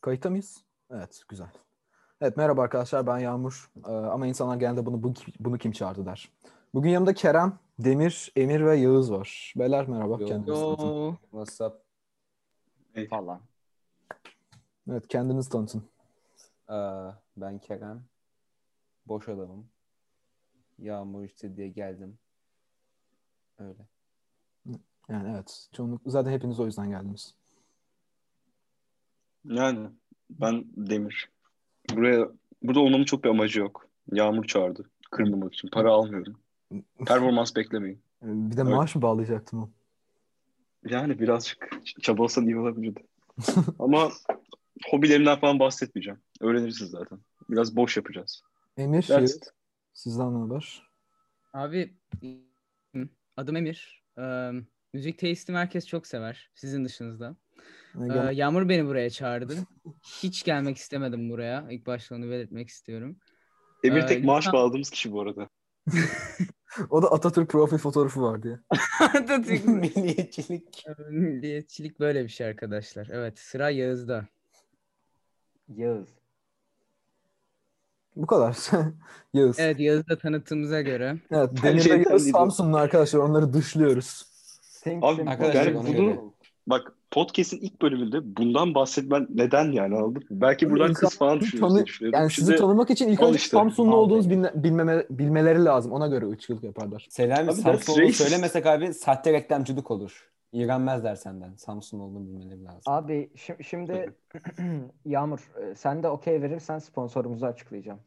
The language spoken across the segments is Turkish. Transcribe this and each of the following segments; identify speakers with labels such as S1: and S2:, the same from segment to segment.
S1: Kayıta mıyız? Evet, güzel. Evet, merhaba arkadaşlar. Ben Yağmur. Ee, ama insanlar genelde bunu bu- bunu kim çağırdı der. Bugün yanımda Kerem, Demir, Emir ve Yağız var. Beyler merhaba.
S2: Yo.
S1: Kendinizi tanıtın.
S3: Yo.
S2: What's up?
S3: Falan.
S1: Evet, kendinizi tanıtın.
S2: Ee, ben Kerem. Boş adamım. Yağmur işte diye geldim. Öyle.
S1: Yani evet, çoğunluk zaten hepiniz o yüzden geldiniz.
S4: Yani ben Demir. Buraya burada olmamın çok bir amacı yok. Yağmur çağırdı. Kırmamak için. Para almıyorum. Performans beklemeyin.
S1: Ee, Bir de
S4: Evet.
S1: maaş mı bağlayacaktım o?
S4: Yani birazcık ç- çabalasan iyi olabilirdi. Ama hobilerimden falan bahsetmeyeceğim. Öğrenirsiniz zaten. Biraz boş yapacağız.
S1: Emir,
S4: That's
S1: Yağız, sizden ne haber?
S3: Abi adım Emir. Ee, müzik teyistimi herkes çok sever. Sizin dışınızda.
S1: Ee,
S3: Ee,
S1: gel-
S3: Yağmur beni buraya çağırdı. Hiç gelmek istemedim buraya. İlk başta onu belirtmek istiyorum.
S4: Emir
S3: Ee,
S4: tek maaş
S3: lütfen-
S4: bağladığımız kişi bu arada.
S1: O da Atatürk profil fotoğrafı var diye.
S3: Atatürk
S2: Milliyetçilik.
S3: Milliyetçilik böyle bir şey arkadaşlar. Evet sıra Yağız'da.
S2: Yağız.
S1: Bu kadar. Yağız. Evet,
S3: Evet Yağız'da tanıtımıza göre.
S1: Demir ve
S4: şeyden
S1: Yağız
S4: değil bu.
S1: Samsunlu arkadaşlar. Onları dışlıyoruz.
S4: Abi
S2: Arkadaşlar
S4: yani
S2: ona
S4: bunu
S2: göre.
S4: bak podcast'in ilk bölümünde bundan bahsetmen neden yani anladın mı? Belki
S1: Abi
S4: buradan kız
S1: insanların
S4: falan
S1: tanı-
S4: düşünüyorsun. düşünüyorum.
S1: Yani sizi
S4: Şimdi-
S1: tanımak için ilk
S4: al
S1: önce
S4: işte.
S1: Samsunlu
S2: Al
S1: olduğunuz
S2: beni.
S1: bilme- bilmeme- bilmeleri lazım. Ona göre ırkçılık yaparlar.
S2: Selam
S4: Abi
S2: Samsun
S4: that's
S2: olduğunu
S4: racist.
S2: söylemesek abi sahte reklamcılık olur. İğrenmezler senden. Samsun olduğunu bilmeleri lazım.
S5: Abi şi- şimdi Yağmur e, sen de okey verirsen sponsorumuzu açıklayacağım.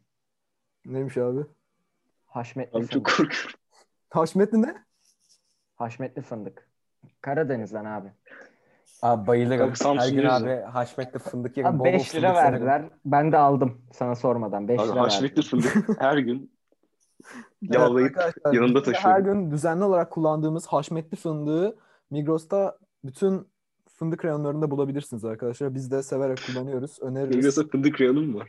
S1: Neymiş abi?
S5: Haşmetli
S4: Abi
S5: fındık.
S4: çok korkuyorum.
S1: Haşmetli ne?
S5: Haşmetli fındık. Karadeniz'den abi.
S2: Abi bayılırım.
S4: Abi Samsun
S2: Her gün
S4: yüzü.
S2: abi haşmetli fındık yerim.
S5: Abi
S2: bol
S5: 5
S2: bol
S5: lira
S2: fındık yerim.
S5: verdiler. Ben de aldım sana sormadan. 5
S4: Abi
S5: lira
S4: haşmetli
S5: verdiler.
S4: fındık her gün
S1: Evet,
S4: yağlayıp
S1: arkadaşlar,
S4: yanımda
S1: biz de Her
S4: taşıyorum.
S1: gün düzenli olarak kullandığımız haşmetli fındığı Migros'ta bütün fındık reyonlarında bulabilirsiniz arkadaşlar. Biz de severek kullanıyoruz. Öneririz.
S4: Migros'a fındık reyonu mu var?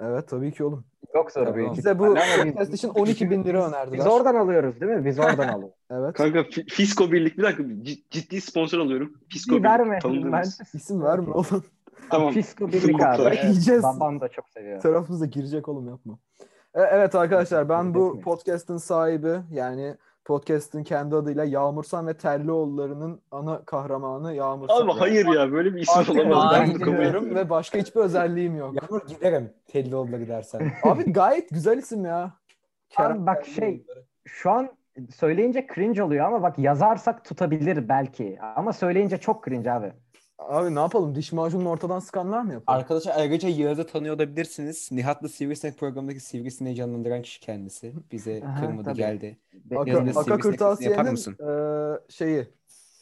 S1: Evet tabii ki oğlum.
S5: Yok soru
S2: Tamam.
S5: büyük.
S1: Bize bu
S5: ihtimalle ama biz-
S1: podcast için 12 bin lira önerdiler.
S5: Biz oradan alıyoruz değil mi? Biz oradan alıyoruz.
S1: Evet.
S4: Kanka Fi- Fisko Birlik bir dakika c- ciddi sponsor alıyorum. Fisko
S5: İyi verme.
S4: Birlik tanıdığımız.
S5: Bence-
S1: İsim verme oğlum.
S4: Tamam.
S5: Fisko
S4: Bizim
S5: birlik abi.
S4: koklar.
S5: Evet,
S1: Yiyeceğiz.
S5: Babam da çok seviyor.
S1: Tarafımıza girecek oğlum yapma. E, Evet arkadaşlar ben bu
S5: Üretmeyin.
S1: podcast'ın sahibi yani podcast'ın kendi adıyla Yağmursan ve Terlioğulları'nın ana kahramanı Yağmursan.
S4: Abi hayır ya böyle bir isim olamaz.
S1: Ben
S4: Ben
S3: Aynen
S4: bunu
S1: bunu
S4: kabul ediyorum.
S1: ve başka hiçbir özelliğim yok.
S2: Yağmur giderim. Telli olma gidersen.
S1: Abi gayet güzel isim ya.
S5: Abi bak şey şu an söyleyince cringe oluyor ama bak yazarsak tutabilir belki. Ama söyleyince çok cringe abi.
S1: Abi ne yapalım diş macununu ortadan sıkanlar mı yapar?
S2: Arkadaşlar ayrıca Yağız'ı tanıyor olabilirsiniz. Nihat'la Sivrisinek programındaki Sivrisineği canlandıran kişi kendisi. Bize
S5: Aha,
S2: kırmadı
S5: tabii.
S2: geldi.
S5: Be-
S1: Aka,
S2: Yazın bir
S1: Aka
S2: sivrisine yapar
S1: Kırtasiye'nin
S2: mısın?
S1: e, şeyi.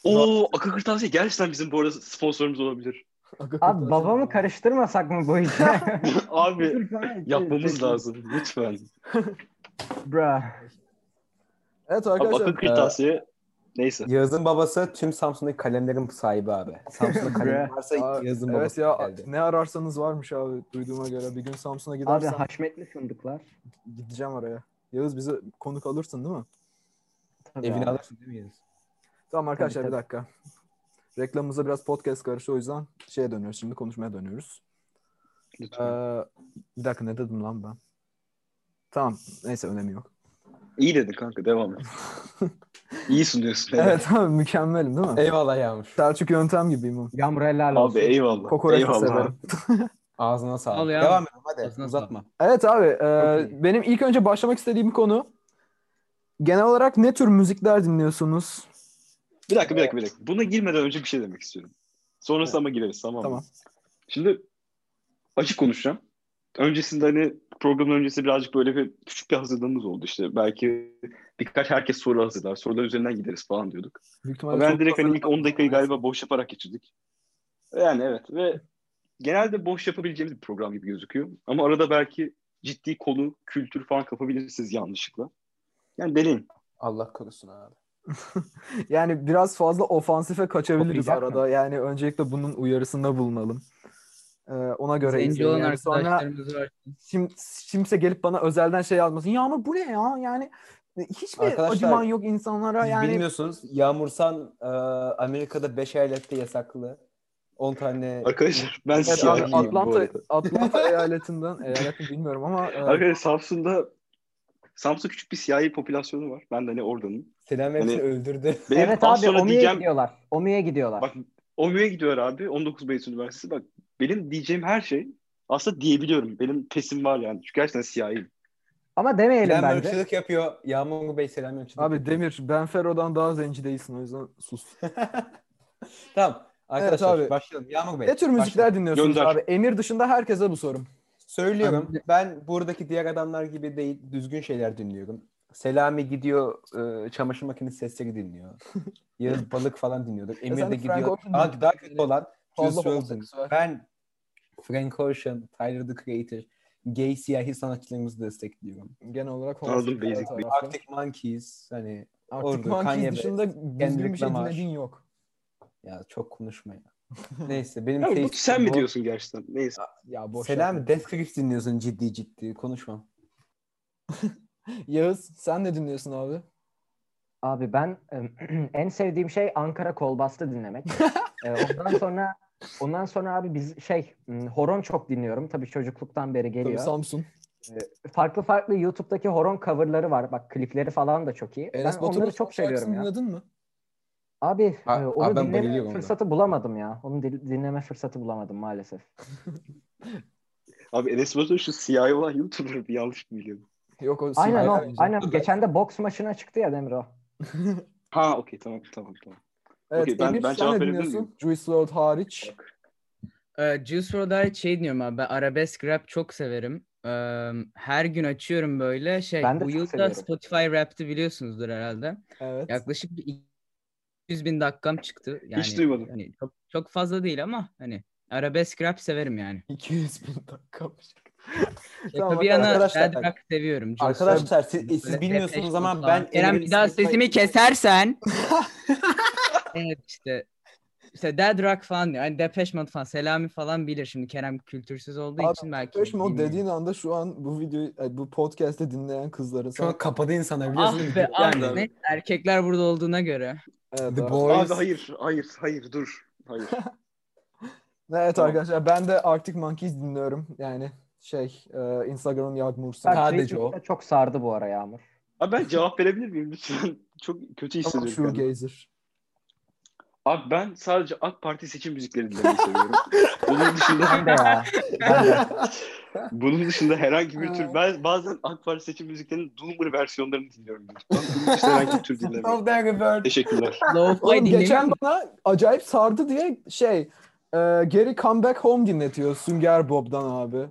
S4: Oo Akı Kırtasiye gerçekten bizim bu arada sponsorumuz olabilir.
S1: Aka
S5: Abi
S1: Kırtasiye.
S5: babamı karıştırmasak mı bu işe?
S4: Abi yapmamız lazım lütfen.
S5: Bra.
S1: Evet
S4: Abi
S1: arkadaşlar. Ee,
S4: Akı Kırtasiye neyse.
S2: Yağız'ın babası tüm Samsun'daki kalemlerin sahibi abi. Samsun'da kalem
S5: Bre.
S2: varsa
S1: Aa,
S2: Yağız'ın
S1: evet
S2: babası
S1: ya
S2: geldi.
S1: ne ararsanız varmış abi duyduğuma göre. Bir gün Samsun'a
S5: Abi
S1: gidersen
S5: haşmetli fındıklar.
S1: gideceğim oraya. Yağız bize konuk alırsın değil mi?
S5: Tabii
S2: Evini
S5: abi.
S2: alırsın değil mi Yağız?
S1: Tamam arkadaşlar bir
S5: tabii.
S1: dakika. Reklamımıza biraz podcast karıştı o yüzden şeye dönüyoruz şimdi konuşmaya dönüyoruz. Ee,
S4: lütfen.
S1: bir dakika ne dedim lan ben? Tamam neyse önemi yok.
S4: İyi dedin kanka devam et. İyi sunuyorsun. helal.
S1: Evet abi mükemmelim değil mi?
S2: Eyvallah Yağmur.
S1: Selçuk yöntem gibiyim o.
S5: Yağmur helal olsun.
S4: Abi eyvallah.
S1: Kokoreç
S4: eyvallah.
S1: severim.
S2: Ağzına sağlık.
S3: Al Yağmur.
S2: Devam edelim hadi.
S3: Ağzına
S2: Uzatma.
S1: Evet abi e,
S5: Çok
S1: benim ilk önce başlamak istediğim konu genel olarak ne tür müzikler dinliyorsunuz?
S4: Bir dakika bir dakika bir dakika. Buna girmeden önce bir şey demek istiyorum. Sonrası ama gireriz tamam mı?
S1: Tamam.
S4: Şimdi açık konuşacağım. Öncesinde hani programın öncesi birazcık böyle bir küçük bir hazırlığımız oldu işte. Belki birkaç herkes soru hazırlar. Sorular üzerinden gideriz falan diyorduk.
S1: Büyük ihtimalle
S4: ben
S1: çok
S4: direkt hani
S1: fazla-
S4: ilk 10 dakikayı galiba boş yaparak geçirdik. Yani evet ve genelde boş yapabileceğimiz bir program gibi gözüküyor. Ama arada belki ciddi konu, kültür falan kapabilirsiniz yanlışlıkla. Yani deneyin.
S2: Allah korusun abi.
S1: Yani biraz fazla ofansife kaçabiliriz
S5: Toplayacak
S1: arada. Yani öncelikle bunun uyarısında bulunalım. Ee, ona göre
S3: Zenci
S1: izleyin.
S3: olan
S1: Yani sonra
S3: arkadaşlarımız var.
S1: şim- kimse gelip bana özelden şey yazmasın. Yağmur bu ne ya? Yani hiç mi
S2: Arkadaşlar,
S1: acıman yok insanlara?
S2: Siz
S1: Yani
S2: bilmiyorsunuz Yağmursan e, Amerika'da 5 eyalette yasaklı. 10 tane
S4: Arkadaşlar ben
S1: Evet,
S4: siyah
S1: abi,
S4: giyeyim bu
S1: Atlanta,
S4: arada.
S1: Atlanta eyaletinden, eyaleti bilmiyorum ama e,
S4: Arkadaşlar Samsun'da Samsun küçük bir siyahi popülasyonu var. Ben de hani oradanım.
S2: Selam hepsini
S4: Hani-
S2: öldürdü.
S4: Benim
S5: evet
S4: az
S5: abi
S4: sonra
S5: Omi'ye
S4: diyeceğim
S5: gidiyorlar. Omi'ye gidiyorlar.
S4: Bak- OMÜ'ye gidiyor abi. 19 Mayıs Üniversitesi. Bak benim diyeceğim her şey aslında diyebiliyorum. Benim pesim var yani. Çünkü gerçekten siyahiyim.
S5: Ama demeyelim
S2: Selam
S5: bence.
S2: ırkçılık yapıyor. Yağmur Bey selam ırkçılık
S1: abi
S2: yapıyor.
S1: Demir ben Fero'dan daha zenci değilsin o yüzden sus.
S2: tamam. Arkadaşlar
S1: abi.
S2: başlayalım. Yağmur Bey.
S1: Ne tür müzikler
S2: başla.
S1: dinliyorsunuz
S4: Gönder.
S1: abi? Emir dışında herkese bu sorum.
S2: Söylüyorum. Ben buradaki diğer adamlar gibi değil düzgün şeyler dinliyorum. Selami gidiyor e, çamaşır makinesi sesleri dinliyor. Yağız Balık falan dinliyorduk. Emir
S1: sen
S2: de
S1: de Frank
S2: gidiyor.
S1: Ocean
S2: Daha,
S1: dinliyorsun.
S2: daha kötü olan Juice
S1: Fazla
S2: WRLD.
S1: homoseksüel.
S2: Ben Frank Ocean, Tyler the Creator, gay siyahi sanatçılarımızı destekliyorum.
S1: Genel olarak
S4: Anladım,
S1: homoseksüel
S4: basic
S1: tarafta.
S2: Arctic Monkeys hani
S1: Artık
S2: Ordu,
S1: Monkeys
S2: Kanye
S1: dışında düzgün bir şey
S2: Lamar.
S1: dinlediğin yok.
S2: ya çok konuşma ya. Neyse benim
S5: Şey,
S2: şey
S4: Ya, bu
S2: taste'im
S4: sen mi
S2: bu.
S4: diyorsun gerçekten? Neyse.
S1: Ya boş
S2: Selam
S1: yapma.
S2: Death Grips dinliyorsun ciddi ciddi konuşmam.
S1: Yağız sen ne dinliyorsun abi?
S5: Abi ben em, en sevdiğim şey Ankara kolbastı dinlemek. E, ondan sonra ondan sonra abi biz şey m, horon çok dinliyorum. Tabii çocukluktan beri
S1: Tabii
S5: geliyor.
S1: Samsun.
S5: farklı farklı YouTube'daki horon coverları var. Bak klipleri falan da çok iyi.
S1: Enes
S5: ben
S1: Batur'un
S5: onları
S1: çok
S5: çok seviyorum ya.
S1: dinledin mi?
S5: Abi
S2: Ha-
S5: e,
S2: abi
S5: onu
S2: ben
S5: dinleme
S2: bayılıyorum ona.
S5: fırsatı bulamadım ya. Onu dil- dinleme fırsatı bulamadım maalesef.
S4: Abi Enes Batur şu siyahi olan YouTuber bir yanlış mı biliyorum?
S1: Yok o
S5: Aynen
S1: Sivri
S5: o.
S1: Aynen.
S5: Aynen geçen de boks maçına çıktı ya Demir o.
S4: Ha okey tamam tamam tamam.
S1: Evet
S4: Okey, ben-
S1: Emir
S4: ben
S1: sen
S4: cevap
S1: ne
S4: verebilir
S1: dinliyorsun?
S4: miyim?
S1: Juice WRLD hariç.
S3: Ee, Juice WRLD hariç şey dinliyorum abi. Ben arabesk rap çok severim. Ee, her gün açıyorum böyle. Şey,
S5: Ben de
S3: bu
S5: çok
S3: yılda
S5: seviyorum.
S3: Spotify Rap'ti biliyorsunuzdur herhalde.
S1: Evet.
S3: Yaklaşık bir 200 bin dakikam çıktı. Yani,
S4: duymadım.
S3: Hani çok, çok fazla değil ama hani arabesk rap severim yani.
S1: 200 bin dakika.
S3: Şaka bir
S1: arkadaşlar.
S3: yana
S2: arkadaşlar-
S3: bad rap seviyorum. Juice WRLD.
S2: Arkadaşlar siz, siz
S3: Böyle
S2: bilmiyorsunuz
S3: Depeche
S2: ama
S3: Mode
S2: ben
S3: falan. Eren
S2: Emir'in
S3: bir daha
S2: Spotify-
S3: sesimi kesersen. evet işte. İşte Dead Rock falan diyor. Hani Depeche Mode falan. Selami falan bilir şimdi. Kerem kültürsüz olduğu
S1: Abi,
S3: için belki.
S1: Depeche Mode
S3: bilmiyor.
S1: dediğin anda şu an bu videoyu, ay, bu podcast'te dinleyen kızların
S2: Şu an
S1: sana...
S2: kapadı insanlar
S3: Ah
S2: biliyorsunuz.
S3: be ah
S2: Yani-
S3: ne erkekler burada olduğuna göre.
S1: Evet,
S2: The
S1: abi.
S2: Boys.
S4: Abi hayır hayır hayır dur. Hayır.
S1: Evet
S4: Tamam.
S1: arkadaşlar ben de Arctic Monkeys dinliyorum. Yani şey e, Instagram'ın Yagmursa.
S2: Sadece
S5: Backstreet
S2: o.
S5: Boys'a şey Çok sardı bu ara Yağmur.
S4: Abi ben cevap verebilir miyim lütfen? Çok kötü hissediyorum. kendimi.
S1: Shoegazer.
S4: Abi ben sadece AK Parti seçim müzikleri dinlemeyi seviyorum. Bunun dışında
S5: Ben de ya. Ben de.
S4: bunun dışında herhangi bir tür ben bazen AK Parti seçim müziklerinin Doomer versiyonlarını dinliyorum. Ben bunun dışında herhangi bir tür dinlemiyorum.
S2: Of the Rebirth.
S4: Teşekkürler.
S3: Lo-fi
S1: Oğlum
S3: dinlemiyor
S1: geçen
S3: musun?
S1: bana acayip sardı diye şey e, geri Comeback Home dinletiyor Sünger Bob'dan abi.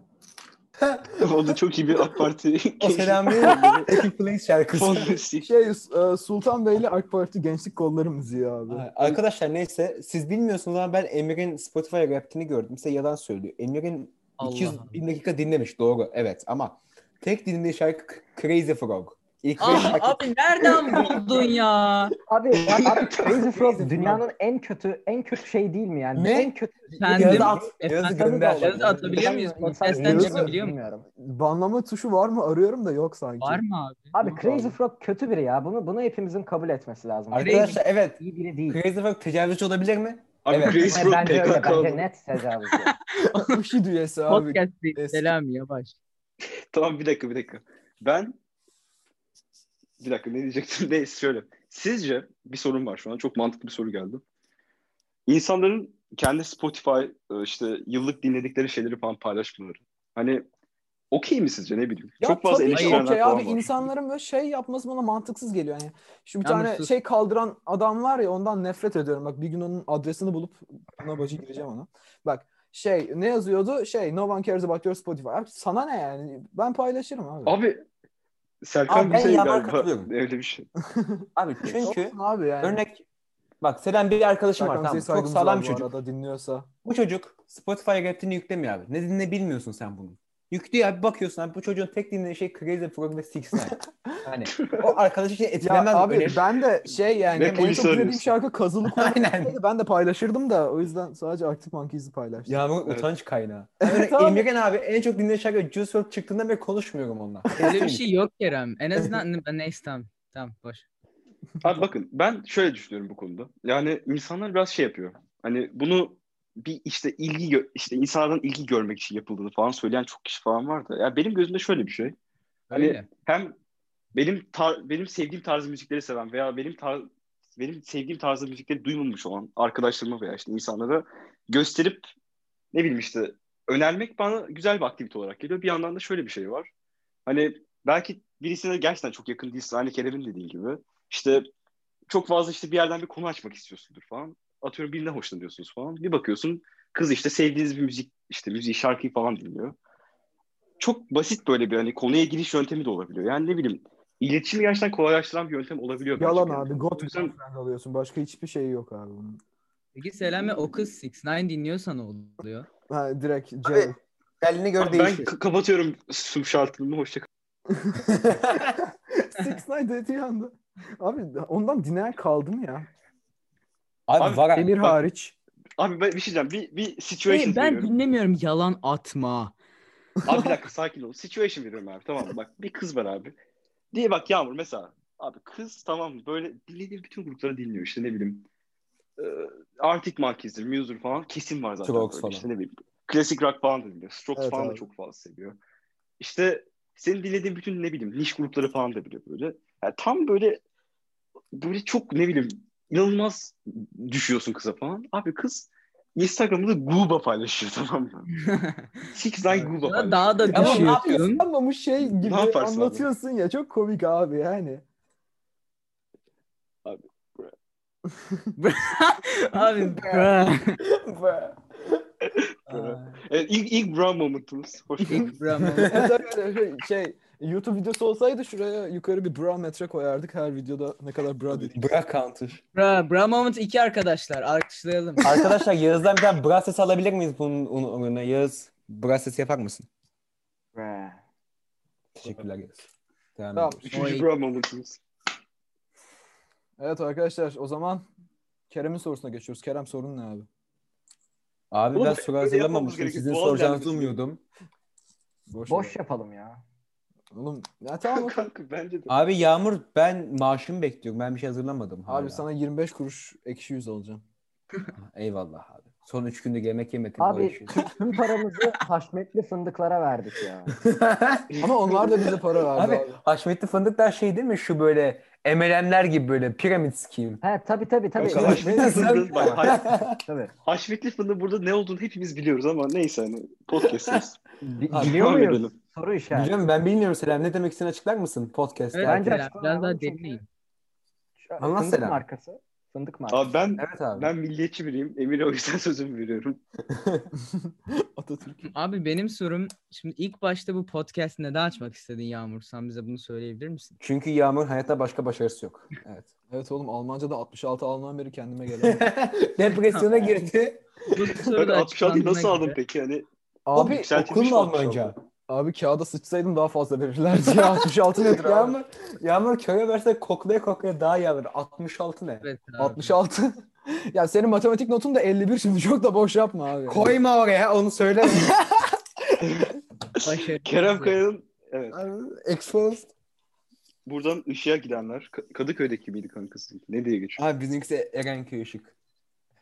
S4: o da çok iyi bir AK Parti.
S2: O Selami'nin Happy Place şarkısı.
S4: Fon müziği.
S1: Şey e, Sultan Beyli AK Parti Gençlik Kolları müziği abi.
S2: Ay, Arkadaşlar neyse siz bilmiyorsunuz ama ben Emir'in Spotify rap'ini gördüm. Size yalan söylüyor. Emir'in
S3: Allah
S2: 200
S3: Allah.
S2: bin dakika dinlemiş doğru evet ama tek dinlediği şarkı Crazy Frog. İlk beş
S3: Ah,
S2: şarkı-
S3: abi nereden buldun ya?
S5: Abi, abi Crazy
S2: Frog.
S5: Frog dünyanın en kötü en kötü şey değil mi yani?
S2: Ne?
S5: En kötü
S2: Yazı
S3: Kendim
S2: at. Yazı
S3: efendim,
S2: gönder.
S3: yazı atabiliyor muyuz?
S5: İnsan-
S3: Podcast'ten
S5: insan-
S1: çıkabiliyor
S3: muyuz?
S5: Bilmiyorum.
S1: Banlama tuşu var mı? Arıyorum da yok sanki.
S3: Var mı abi?
S5: Abi
S1: Yok
S5: Crazy
S1: abi.
S5: Frog kötü biri ya. Bunu bunu hepimizin kabul etmesi lazım.
S2: Arkadaşlar evet
S5: iyi biri değil.
S2: Crazy Frog tecavüzcü olabilir mi?
S4: Abi
S2: Evet.
S4: Crazy
S5: Yani
S4: Frog
S5: bence öyle.
S4: PKK.
S5: Bence net tecavüz. ya.
S1: IŞİD üyesi şey abi.
S3: Podcast değil.
S1: eski-
S3: Selami yavaş.
S4: Tamam bir dakika bir dakika. Ben bir dakika ne diyecektim? Neyse şöyle. Sizce bir sorun var şu an. Çok mantıklı bir soru geldi. İnsanların kendi Spotify e, işte yıllık dinledikleri şeyleri falan paylaşmaları. Hani okey mi sizce ne bileyim?
S1: Ya
S4: Çok fazla
S1: tabii ki
S4: eleştirenler
S1: okey
S4: falan
S1: abi
S4: var.
S1: insanların böyle şey yapması bana mantıksız geliyor yani. Şu bir
S3: Yalnız
S1: tane
S3: sus.
S1: şey kaldıran adam var ya ondan nefret ediyorum. Bak bir gün onun adresini bulup buna bacı gireceğim ona. Bak şey ne yazıyordu? Şey no one cares about your Spotify. Abi sana ne yani? Ben paylaşırım abi.
S4: Abi Serkan
S2: Abi ben
S4: Güzel
S2: Yaman'a
S4: galiba
S2: katılıyorum.
S4: öyle bir şey.
S2: Abi çünkü
S1: Olsun abi yani.
S2: örnek bak Selam bir arkadaşım var
S1: Serkan
S2: tamam
S1: Zeki
S2: çok
S1: saygımız var
S2: sağlam
S1: bu
S2: çocuk.
S1: Arada dinliyorsa.
S2: Bu çocuk Spotify rap'ini yüklemiyor abi. Ne dinle bilmiyorsun sen bunu. Yüklüyor abi bakıyorsun abi bu çocuğun tek dinlediği şey Crazy Frog ve Six Nine. Yani o arkadaşı için
S1: Ya
S2: etkilemez.
S1: abi
S2: öyle-
S1: ben de şey yani
S4: Ve
S1: en çok
S4: polisi
S1: dinlediğim
S4: arıyorsun.
S1: şarkı Kazılı Kulak
S2: Aynen.
S1: olsaydı ben de paylaşırdım da o yüzden sadece Arctic Monkeys'i paylaştım.
S2: Yağmur
S4: Evet.
S2: utanç kaynağı. Yani
S1: Tamam.
S2: Emirgen abi en çok dinlediği şarkı Juice WRLD çıktığından beri konuşmuyorum onunla.
S3: Öyle bir şey yok Kerem. En azından ben neyse tamam. Tamam boş.
S4: Abi bakın ben şöyle düşünüyorum bu konuda. Yani insanlar biraz şey yapıyor. Hani bunu bir işte ilgi gö- işte insanlardan ilgi görmek için yapıldığını falan söyleyen çok kişi falan vardı. Ya benim gözümde şöyle bir şey. Hani
S3: Öyle.
S4: hem benim tar- benim sevdiğim tarz müzikleri seven veya benim tar- benim sevdiğim tarzda müzikleri duymamış olan arkadaşlarıma veya işte insanlara gösterip ne bileyim işte önermek bana güzel bir aktivite olarak geliyor. Bir yandan da şöyle bir şey var. Hani belki birisine gerçekten çok yakın değilsin. Aynı Kerem'in dediği gibi. İşte çok fazla işte bir yerden bir konu açmak istiyorsundur falan. Atıyorum birinden hoşlanıyorsunuz falan. Bir bakıyorsun kız işte sevdiğiniz bir müzik işte müziği şarkıyı falan dinliyor. Çok basit böyle bir hani konuya giriş yöntemi de olabiliyor. Yani ne bileyim iletişimi gerçekten kolaylaştıran bir yöntem olabiliyor. bence
S1: Yalan
S4: bir
S1: abi.
S4: yandan.
S1: Got
S4: O yüzden-
S1: Girlfriend alıyorsun. Başka hiçbir şey yok abi bunun.
S3: Peki Selami o kız 6ix9ine dinliyorsa ne oluyor?
S1: Ha, direkt C.
S2: Abi- Gelini gör
S4: Abi ben
S2: değişir.
S4: k- kapatıyorum sum şartımı hoşça kal.
S1: Six Nine dediği anda. Abi ondan dinleyen kaldı mı ya?
S2: Abi,
S4: Abi,
S2: var
S1: Emir
S4: bak-
S1: hariç.
S4: Abi ben bir şey diyeceğim. Bir, bir situation
S3: Hayır ben
S4: veriyorum.
S3: dinlemiyorum yalan atma.
S4: Abi bir dakika sakin ol. Situation veriyorum abi tamam mı? Bak bir kız var abi. Diye bak Yağmur mesela. Abi kız tamam mı? Böyle dinlediği bütün grupları dinliyor işte ne bileyim. Ee, Arctic Monkeys'dir, Muse'dur falan. Kesin var zaten.
S2: Strokes
S4: böyle.
S2: falan.
S4: İşte ne bileyim. Klasik rock falan da dinliyor. Strokes
S1: Evet
S4: falan da
S1: abi.
S4: çok fazla seviyor. İşte senin dinlediğin bütün ne bileyim niş grupları falan da biliyor böyle. Yani tam böyle böyle çok ne bileyim inanılmaz düşüyorsun kıza falan. Abi kız Instagram'da Gooba paylaşıyor tamam mı? Six Nine Gooba paylaşıyor.
S3: Ya daha da
S1: Ama ne
S3: düşüyorsun.
S1: Ama bu şey gibi
S4: şey yaparsın abi?
S1: anlatıyorsun ya çok komik abi yani.
S3: Abi bra.
S4: Evet, E, ilk, ilk bra momentumuz. Hoş geldin.
S3: İlk bra moment.
S1: Evet arkadaşlar, şey, şey YouTube videosu olsaydı şuraya yukarı bir bra metre koyardık her videoda ne kadar bra dedik.
S2: Bırak counter.
S3: Bra, bra moment iki arkadaşlar. Alkışlayalım.
S2: Arkadaşlar Yağız'dan bir tane bra sesi alabilir miyiz bunun uğruna? Yağız bra sesi yapar mısın?
S5: Ve-
S2: Teşekkürler Yağız. Devam
S1: Tamam.
S2: ediyoruz.
S4: Üçüncü bra momentumuz.
S1: Evet arkadaşlar o zaman Kerem'in sorusuna geçiyoruz. Kerem sorun ne abi?
S2: Abi
S4: Oğlum,
S2: ben
S4: böyle
S2: soru
S4: yapmamız
S2: hazırlamamıştım.
S4: gerekiyor.
S2: Sizin
S4: Doğal
S2: soracağınızı
S4: gelmesi.
S2: umuyordum.
S1: ver.
S5: Boş yapalım ya.
S1: Oğlum ya tamam okey.
S4: Kanka bence de.
S2: Abi Yağmur ben maaşımı bekliyorum. Ben bir şey hazırlamadım. hala.
S1: Abi sana 25 kuruş ekşi yüz alacağım.
S2: Eyvallah abi. Son üç günde yemek yemedim. o
S5: Abi
S2: işi.
S5: tüm- tüm paramızı haşmetli fındıklara verdik ya.
S1: Ama onlar da bize para verdi
S2: abi
S1: abi.
S2: haşmetli fındıklar şey değil mi? Şu böyle MLM'ler gibi böyle piramit scheme.
S5: He tabii tabii tabii.
S4: Kanka, haşmetli fındık. Bak, ha-
S5: Tabii.
S4: haşmetli fındık burada ne olduğunu hepimiz biliyoruz ama neyse hani podcast'ız.
S5: Bi-
S2: Abi,
S5: Biliyor
S4: devam
S5: muyuz?
S4: edelim.
S5: Soru işareti.
S2: Biliyor musun? Ben bilmiyorum Selam. Ne demek istediğini açıklar mısın podcast?
S3: Evet,
S5: Bence
S3: Selam,
S5: açıklama
S3: biraz
S5: alalım
S3: daha
S5: çünkü-
S3: deneyin.
S5: Şu-
S2: Anlat
S5: Fındık
S2: Selam.
S5: markası. Fındık markası.
S4: Abi ben
S2: Evet abi.
S4: ben milliyetçi biriyim. Emir'e o yüzden sözümü veriyorum.
S1: Atatürk.
S3: Abi benim sorum şimdi ilk başta bu podcast neden açmak istedin Yağmur? Sen bize bunu söyleyebilir misin?
S2: Çünkü Yağmur hayatta başka başarısı yok. Evet.
S1: Evet oğlum Almanca'da 66 Alman beri kendime gelen.
S2: Depresyona girdi.
S3: Bu
S4: Ben
S3: soru da
S4: 66'yı nasıl
S3: açıklandığına
S4: aldın
S3: göre-
S4: peki? Hani
S2: Abi
S4: yükseltilmiş
S2: okulun
S4: mi
S2: Almanca?
S1: Abi kağıda sıçsaydım daha fazla verirlerdi ya. 66 nedir abi?
S2: Yağmur, Yağmur köye verse koklaya koklaya daha iyi alır. 66 ne?
S3: Evet abi.
S1: 66. ya senin matematik notun da 51 şimdi çok da boş yapma abi.
S2: Koyma oraya onu söyle.
S3: Başarı-
S4: Kerem Kaya'nın evet.
S2: Exposed.
S4: Buradan ışığa gidenler. Ka- Kadıköy'deki miydi kankası? Ne diye geçiyor?
S2: Abi bizimkisi Erenköy ışık.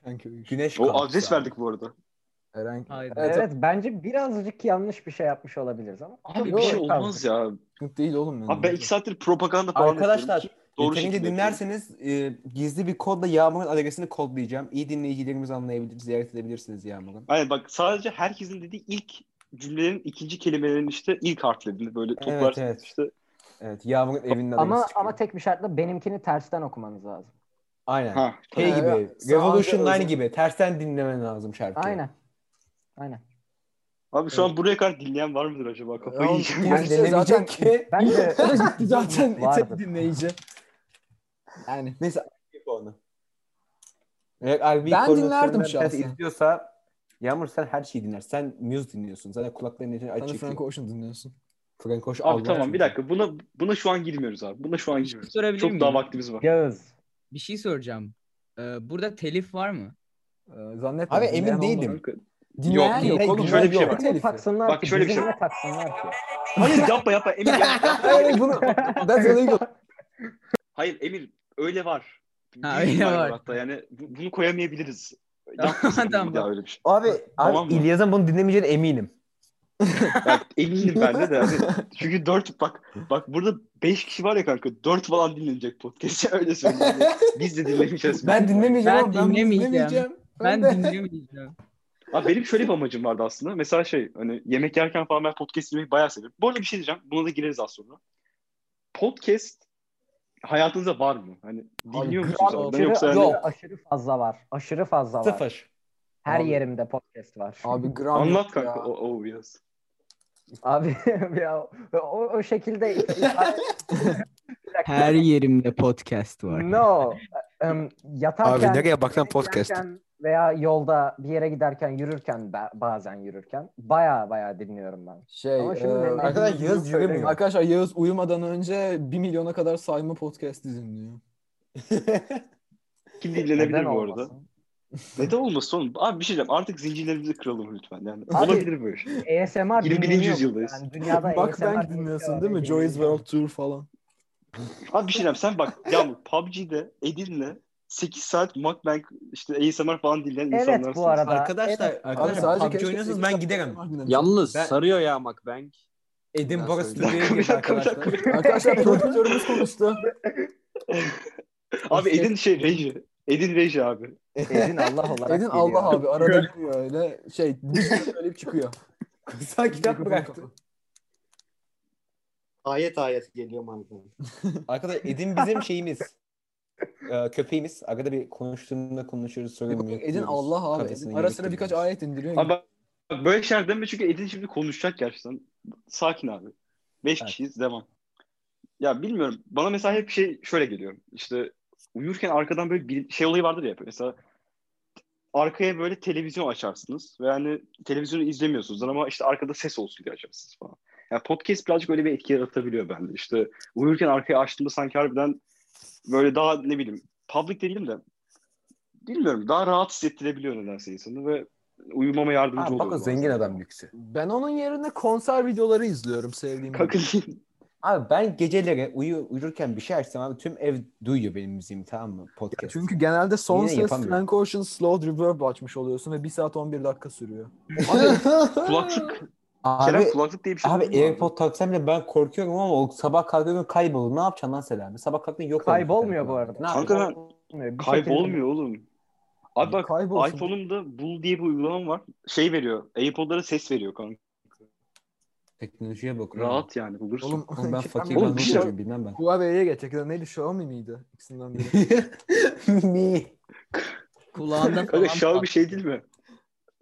S1: Kanka,
S2: Güneş
S4: O
S2: kampüsü
S4: adres
S2: abi.
S4: verdik bu arada.
S1: Eren.
S3: Hayır.
S1: Evet,
S5: Evet bence birazcık yanlış bir şey yapmış olabiliriz ama.
S4: Abi
S1: Yok,
S4: bir şey
S5: kanka.
S4: olmaz ya.
S1: sıkıntı değil oğlum. Yani.
S4: Abi ben iki saattir propaganda falan yapıyorum
S2: Arkadaşlar
S4: ki doğru
S2: yeterince
S4: şekilde
S2: dinlerseniz e, gizli bir kodla Yağmur'un adresini kodlayacağım. İyi dinleyicilerimiz anlayabilir, ziyaret edebilirsiniz Yağmur'un.
S4: Aynen bak sadece herkesin dediği ilk cümlenin ikinci kelimelerinin işte ilk harflerini böyle toplarsın
S2: evet.
S4: işte.
S2: Evet Yağmur'un evinin adresi
S5: Ama
S2: çıkıyor.
S5: ama tek bir şartla benimkini tersten okumanız lazım.
S2: Aynen.
S4: Ha.
S2: Şey
S1: Ha,
S2: gibi,
S1: evet.
S2: Revolution
S1: Ee, Sağ-
S2: Line gibi tersten dinlemen lazım şarkıyı.
S5: Aynen. Aynen.
S4: Abi şu an buraya kadar dinleyen var mıdır acaba? Kafayı
S1: Ya,
S4: yiyeceğim.
S1: bu-
S2: Yani
S1: Gerçi
S2: denemeyecek
S1: zaten-
S2: ki.
S5: Bence
S1: O da gitti zaten tek
S5: Vardır.
S1: dinleyici. Yani
S2: Neyse RB onu. Eğer RB
S1: Ben
S2: konusu
S1: dinlerdim
S2: senden
S1: şahsen.
S2: ters izliyorsa Yağmur sen her şeyi dinlersin. Sen Muse dinliyorsun. Zaten kulakların için
S1: sen de
S2: açık.
S1: Frank Ocean dinliyorsun.
S2: Frank Hoş
S4: Abi tamam bir dakika buna buna şu an girmiyoruz abi. Buna şu an
S3: Bir şey
S4: girmiyoruz.
S3: sorabilir
S4: Çok
S3: miyim?
S4: daha vaktimiz var.
S5: Yağız.
S3: Bir şey soracağım. Ee, burada telif var mı?
S1: Ee, zannetmiyorum.
S2: Abi emin
S1: Dinleyen
S2: değilim.
S1: olmadı.
S4: Kanka,
S1: Dinleyen
S4: Yok,
S1: yok,
S4: yok,
S1: oğlum.
S4: şöyle bir şey var.
S5: Bak, taksınlar
S4: Bak,
S5: ki,
S4: şöyle bir şey
S5: bizimle
S4: var.
S5: taksınlar ki.
S4: Hayır yapma yapma Emir yapma. yapma.
S1: Hayır hayır, bunu. That's illegal.
S4: Hayır Emir öyle var. Büyük
S3: Ha, öyle
S4: ihtimal
S3: var.
S4: Hatta yani bu- bunu koyamayabiliriz. Yapmasın
S3: Tamam.
S4: bir daha öyle bir şey.
S2: Abi,
S4: Tamam
S2: abi
S4: mı?
S2: İlyas'ın bunu dinlemeyeceğine eminim.
S4: Ben eminim ben de de. abi. Çünkü dört bak bak burada beş kişi var ya kanka. Dört falan dinlenecek podcast. Öyle söyleyeyim. Yani Biz de dinlemeyeceğiz.
S1: Ben dinlemeyeceğim
S3: Ben
S1: ama ben bunu
S3: dinlemeyeceğim.
S1: dinlemeyeceğim.
S3: Ben
S1: de-
S3: dinlemeyeceğim.
S4: Abi benim şöyle bir amacım vardı aslında. Mesela şey hani yemek yerken falan ben podcast dinlemeyi bayağı seviyorum. Bu arada bir şey diyeceğim. Buna da gireriz az sonra. Podcast hayatınızda var mı? Hani dinliyor musunuz
S1: gram-
S4: arada?
S5: Aşırı,
S4: Yoksa hani
S5: şey yok, aşırı fazla var. Aşırı fazla var.
S2: Sıfır.
S5: Her
S1: Abi.
S5: yerimde podcast var. Abi,
S1: Abi gram
S4: anlat
S1: yok ya.
S4: kanka. O, o biraz.
S5: ya, o, o şekilde ifade-
S3: Her yerimde podcast var.
S5: No. Em, yatarken,
S6: Abi nereye baksan
S5: yemek
S6: podcast.
S5: yerken veya yolda bir yere giderken yürürken ba- bazen yürürken baya baya dinliyorum ben.
S1: Şey,
S5: Ama şimdi
S1: e,
S5: ne-
S2: Arkadaşlar Yağız
S1: Yağız
S2: yürümüyor.
S1: söyleyeyim. Arkadaşlar Yağız uyumadan önce 1 milyona kadar sayma podcast dinliyor.
S4: Kim dinlenebilir
S5: Neden
S4: bu arada?
S5: olmasın?
S4: Neden olmasın oğlum? Abi bir şey diyeceğim. Artık zincirlerimizi kıralım lütfen. Yani
S5: Abi-
S4: olabilir böyle şey.
S5: ASMR
S4: 21.
S5: dinleniyor bu.
S4: yüzyıldayız.
S5: Yani dünyada
S1: Bak ben
S5: ASMR
S1: dinliyorsun
S5: dinliyor,
S1: değil mi? Joy's World Tour falan.
S4: Abi bir şey diyeceğim. Sen bak Yağmur PUBG'de Edin'le 8 saat mukbang işte ASMR falan dinleyen
S5: Evet
S4: insanlarsınız.
S5: bu arada.
S2: Arkadaşlar,
S5: evet.
S1: Abi
S2: arkadaşlar
S1: sadece
S2: PUBG
S1: keşke
S2: oynuyorsanız
S1: sekiz
S2: ben
S1: saat
S2: giderim.
S1: ASMR dinlemiş.
S7: Yalnız
S2: Ben-
S7: sarıyor ya MacBank.
S2: Edin
S7: Ben
S2: Bora
S7: söyleyeyim.
S2: stüdyoya girdi
S4: Bir dakika, bir dakika,
S2: arkadaşlar.
S1: Arkadaşlar prodüktörümüz konuştu.
S4: Abi Edin şey reji. Edin reji abi.
S5: Edin Allah olarak
S1: Edin
S5: geliyor.
S1: Allah abi arada giriyor öyle şey söyleyip çıkıyor.
S2: Sen kitap bıraktı.
S8: Ayet ayet geliyor mantığı.
S2: Arkadaşlar Edin bizim şeyimiz. Ee, köpeğimiz. Arada bir konuştuğunda konuşuyoruz. Sorun yok.
S1: Edin Allah abi. Edin ara sıra birkaç ayet indiriyor.
S4: Abi bak, bak böyle şeyler deme çünkü Edin şimdi konuşacak gerçekten. Sakin abi. 5
S2: Evet.
S4: kişiyiz devam. Ya bilmiyorum. Bana mesela hep şey şöyle geliyor. İşte uyurken arkadan böyle bir şey olayı vardır ya. Mesela arkaya böyle televizyon açarsınız. Ve yani televizyonu izlemiyorsunuz ama işte arkada ses olsun diye açarsınız falan. Yani podcast birazcık öyle bir etki yaratabiliyor bende. İşte uyurken arkaya açtığımda sanki harbiden böyle daha ne bileyim public değilim de bilmiyorum daha rahat hissettirebiliyor nedense insanı ve uyumama yardımcı
S2: Ha,
S4: oluyor.
S2: bak o
S4: bazen.
S2: zengin adam lüksü.
S1: Ben onun yerine konser videoları izliyorum sevdiğim.
S4: Kanka
S2: Abi ben geceleri uyu, uyurken bir şey açsam abi tüm ev duyuyor benim müziğimi tamam mı? Podcast.
S1: Ya çünkü genelde son
S2: Yine
S1: ses
S2: yapamıyorum.
S1: Frank Ocean Slow Reverb açmış oluyorsun ve 1 saat 11 dakika sürüyor.
S4: kulaklık.
S2: abi,
S4: Kerem kulaklık diye bir şey duydun
S2: abi
S4: mu
S2: AirPod taksam bile ben korkuyorum ama o sabah kalkıyorum kaybolur. Ne yapacaksın lan Selami? Sabah kalktın yok olmuş.
S5: Kaybolmuyor bu arada.
S2: Ne
S4: Kanka
S2: yapacaksın?
S4: ben
S2: şey
S5: Kaybolmuyor. Bir şekilde-
S4: kaybolmuyor oğlum. Abi bak
S1: Kaybolsun.
S4: iPhone'umda Bul diye bir uygulamam var. Şey veriyor. AirPod'lara ses veriyor kanka.
S2: Teknolojiye bak.
S4: Rahat yani bulursun.
S1: Oğlum,
S2: Hmm. Oğlum ben fakir ben
S4: Oğlum
S2: ne
S4: bir şey-
S2: olacağım bilmem ben.
S1: Huawei'ye gerçekten neydi Xiaomi miydi? İkisinden biri.
S2: Mi?
S3: Kulağında
S4: Kanka
S3: falan.
S4: Xiaomi
S3: pat-
S4: şey değil mi?